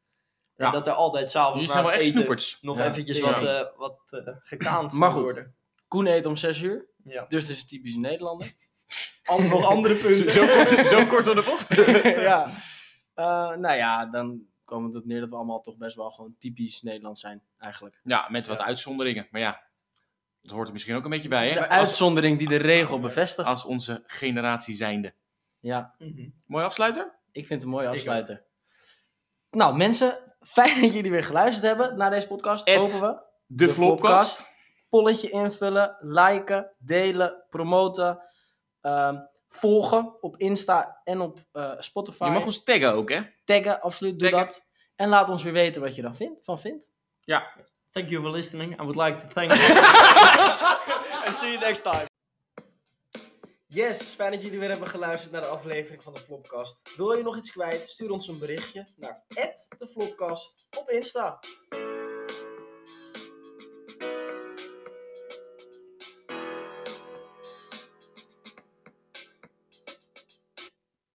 [SPEAKER 2] Ja.
[SPEAKER 1] En dat er altijd
[SPEAKER 3] Jullie
[SPEAKER 1] s'avonds na
[SPEAKER 3] zijn wel
[SPEAKER 1] het
[SPEAKER 3] echt
[SPEAKER 1] eten
[SPEAKER 3] snoeperds.
[SPEAKER 1] nog
[SPEAKER 2] Ja.
[SPEAKER 1] eventjes
[SPEAKER 3] Ja.
[SPEAKER 1] wat, eh wat eh, gekaand
[SPEAKER 2] Maar
[SPEAKER 1] moet
[SPEAKER 2] goed.
[SPEAKER 1] worden.
[SPEAKER 2] Koen eet om zes uur.
[SPEAKER 1] Ja.
[SPEAKER 2] Dus dat is typisch Nederlander.
[SPEAKER 1] An- nog andere punten.
[SPEAKER 3] Zo, kort- zo kort door de bocht.
[SPEAKER 2] ja. Eh, nou ja, dan komen we erop neer dat we allemaal toch best wel gewoon typisch Nederlands zijn, eigenlijk.
[SPEAKER 3] Ja, met wat
[SPEAKER 1] Ja.
[SPEAKER 3] uitzonderingen. Maar ja, dat hoort er misschien ook een beetje bij, hè?
[SPEAKER 2] De uitzondering die de regel bevestigt.
[SPEAKER 3] Ah, Als onze generatie zijnde.
[SPEAKER 2] Ja.
[SPEAKER 1] Mhm.
[SPEAKER 3] Mooi afsluiter?
[SPEAKER 2] Ik vind het een mooie
[SPEAKER 1] Ik
[SPEAKER 2] afsluiter. Nou, mensen, fijn dat jullie weer geluisterd hebben naar deze podcast.
[SPEAKER 3] Het-
[SPEAKER 2] Hopen we.
[SPEAKER 3] De, Flopcast.
[SPEAKER 2] Polletje invullen, liken, delen, promoten. Ehm, volgen op Insta en op eh, Spotify.
[SPEAKER 3] Je mag ons taggen ook, hè?
[SPEAKER 2] taggen, absoluut, doe
[SPEAKER 3] Taggen.
[SPEAKER 2] dat. En laat ons weer weten wat je dan vindt, van vindt.
[SPEAKER 1] Thank you for listening. I would like to thank And see you next time.
[SPEAKER 2] Yes, fijn dat jullie weer hebben geluisterd naar de aflevering van de Flopcast. Wil je nog iets kwijt? Stuur ons een berichtje naar @deflopcast op Insta.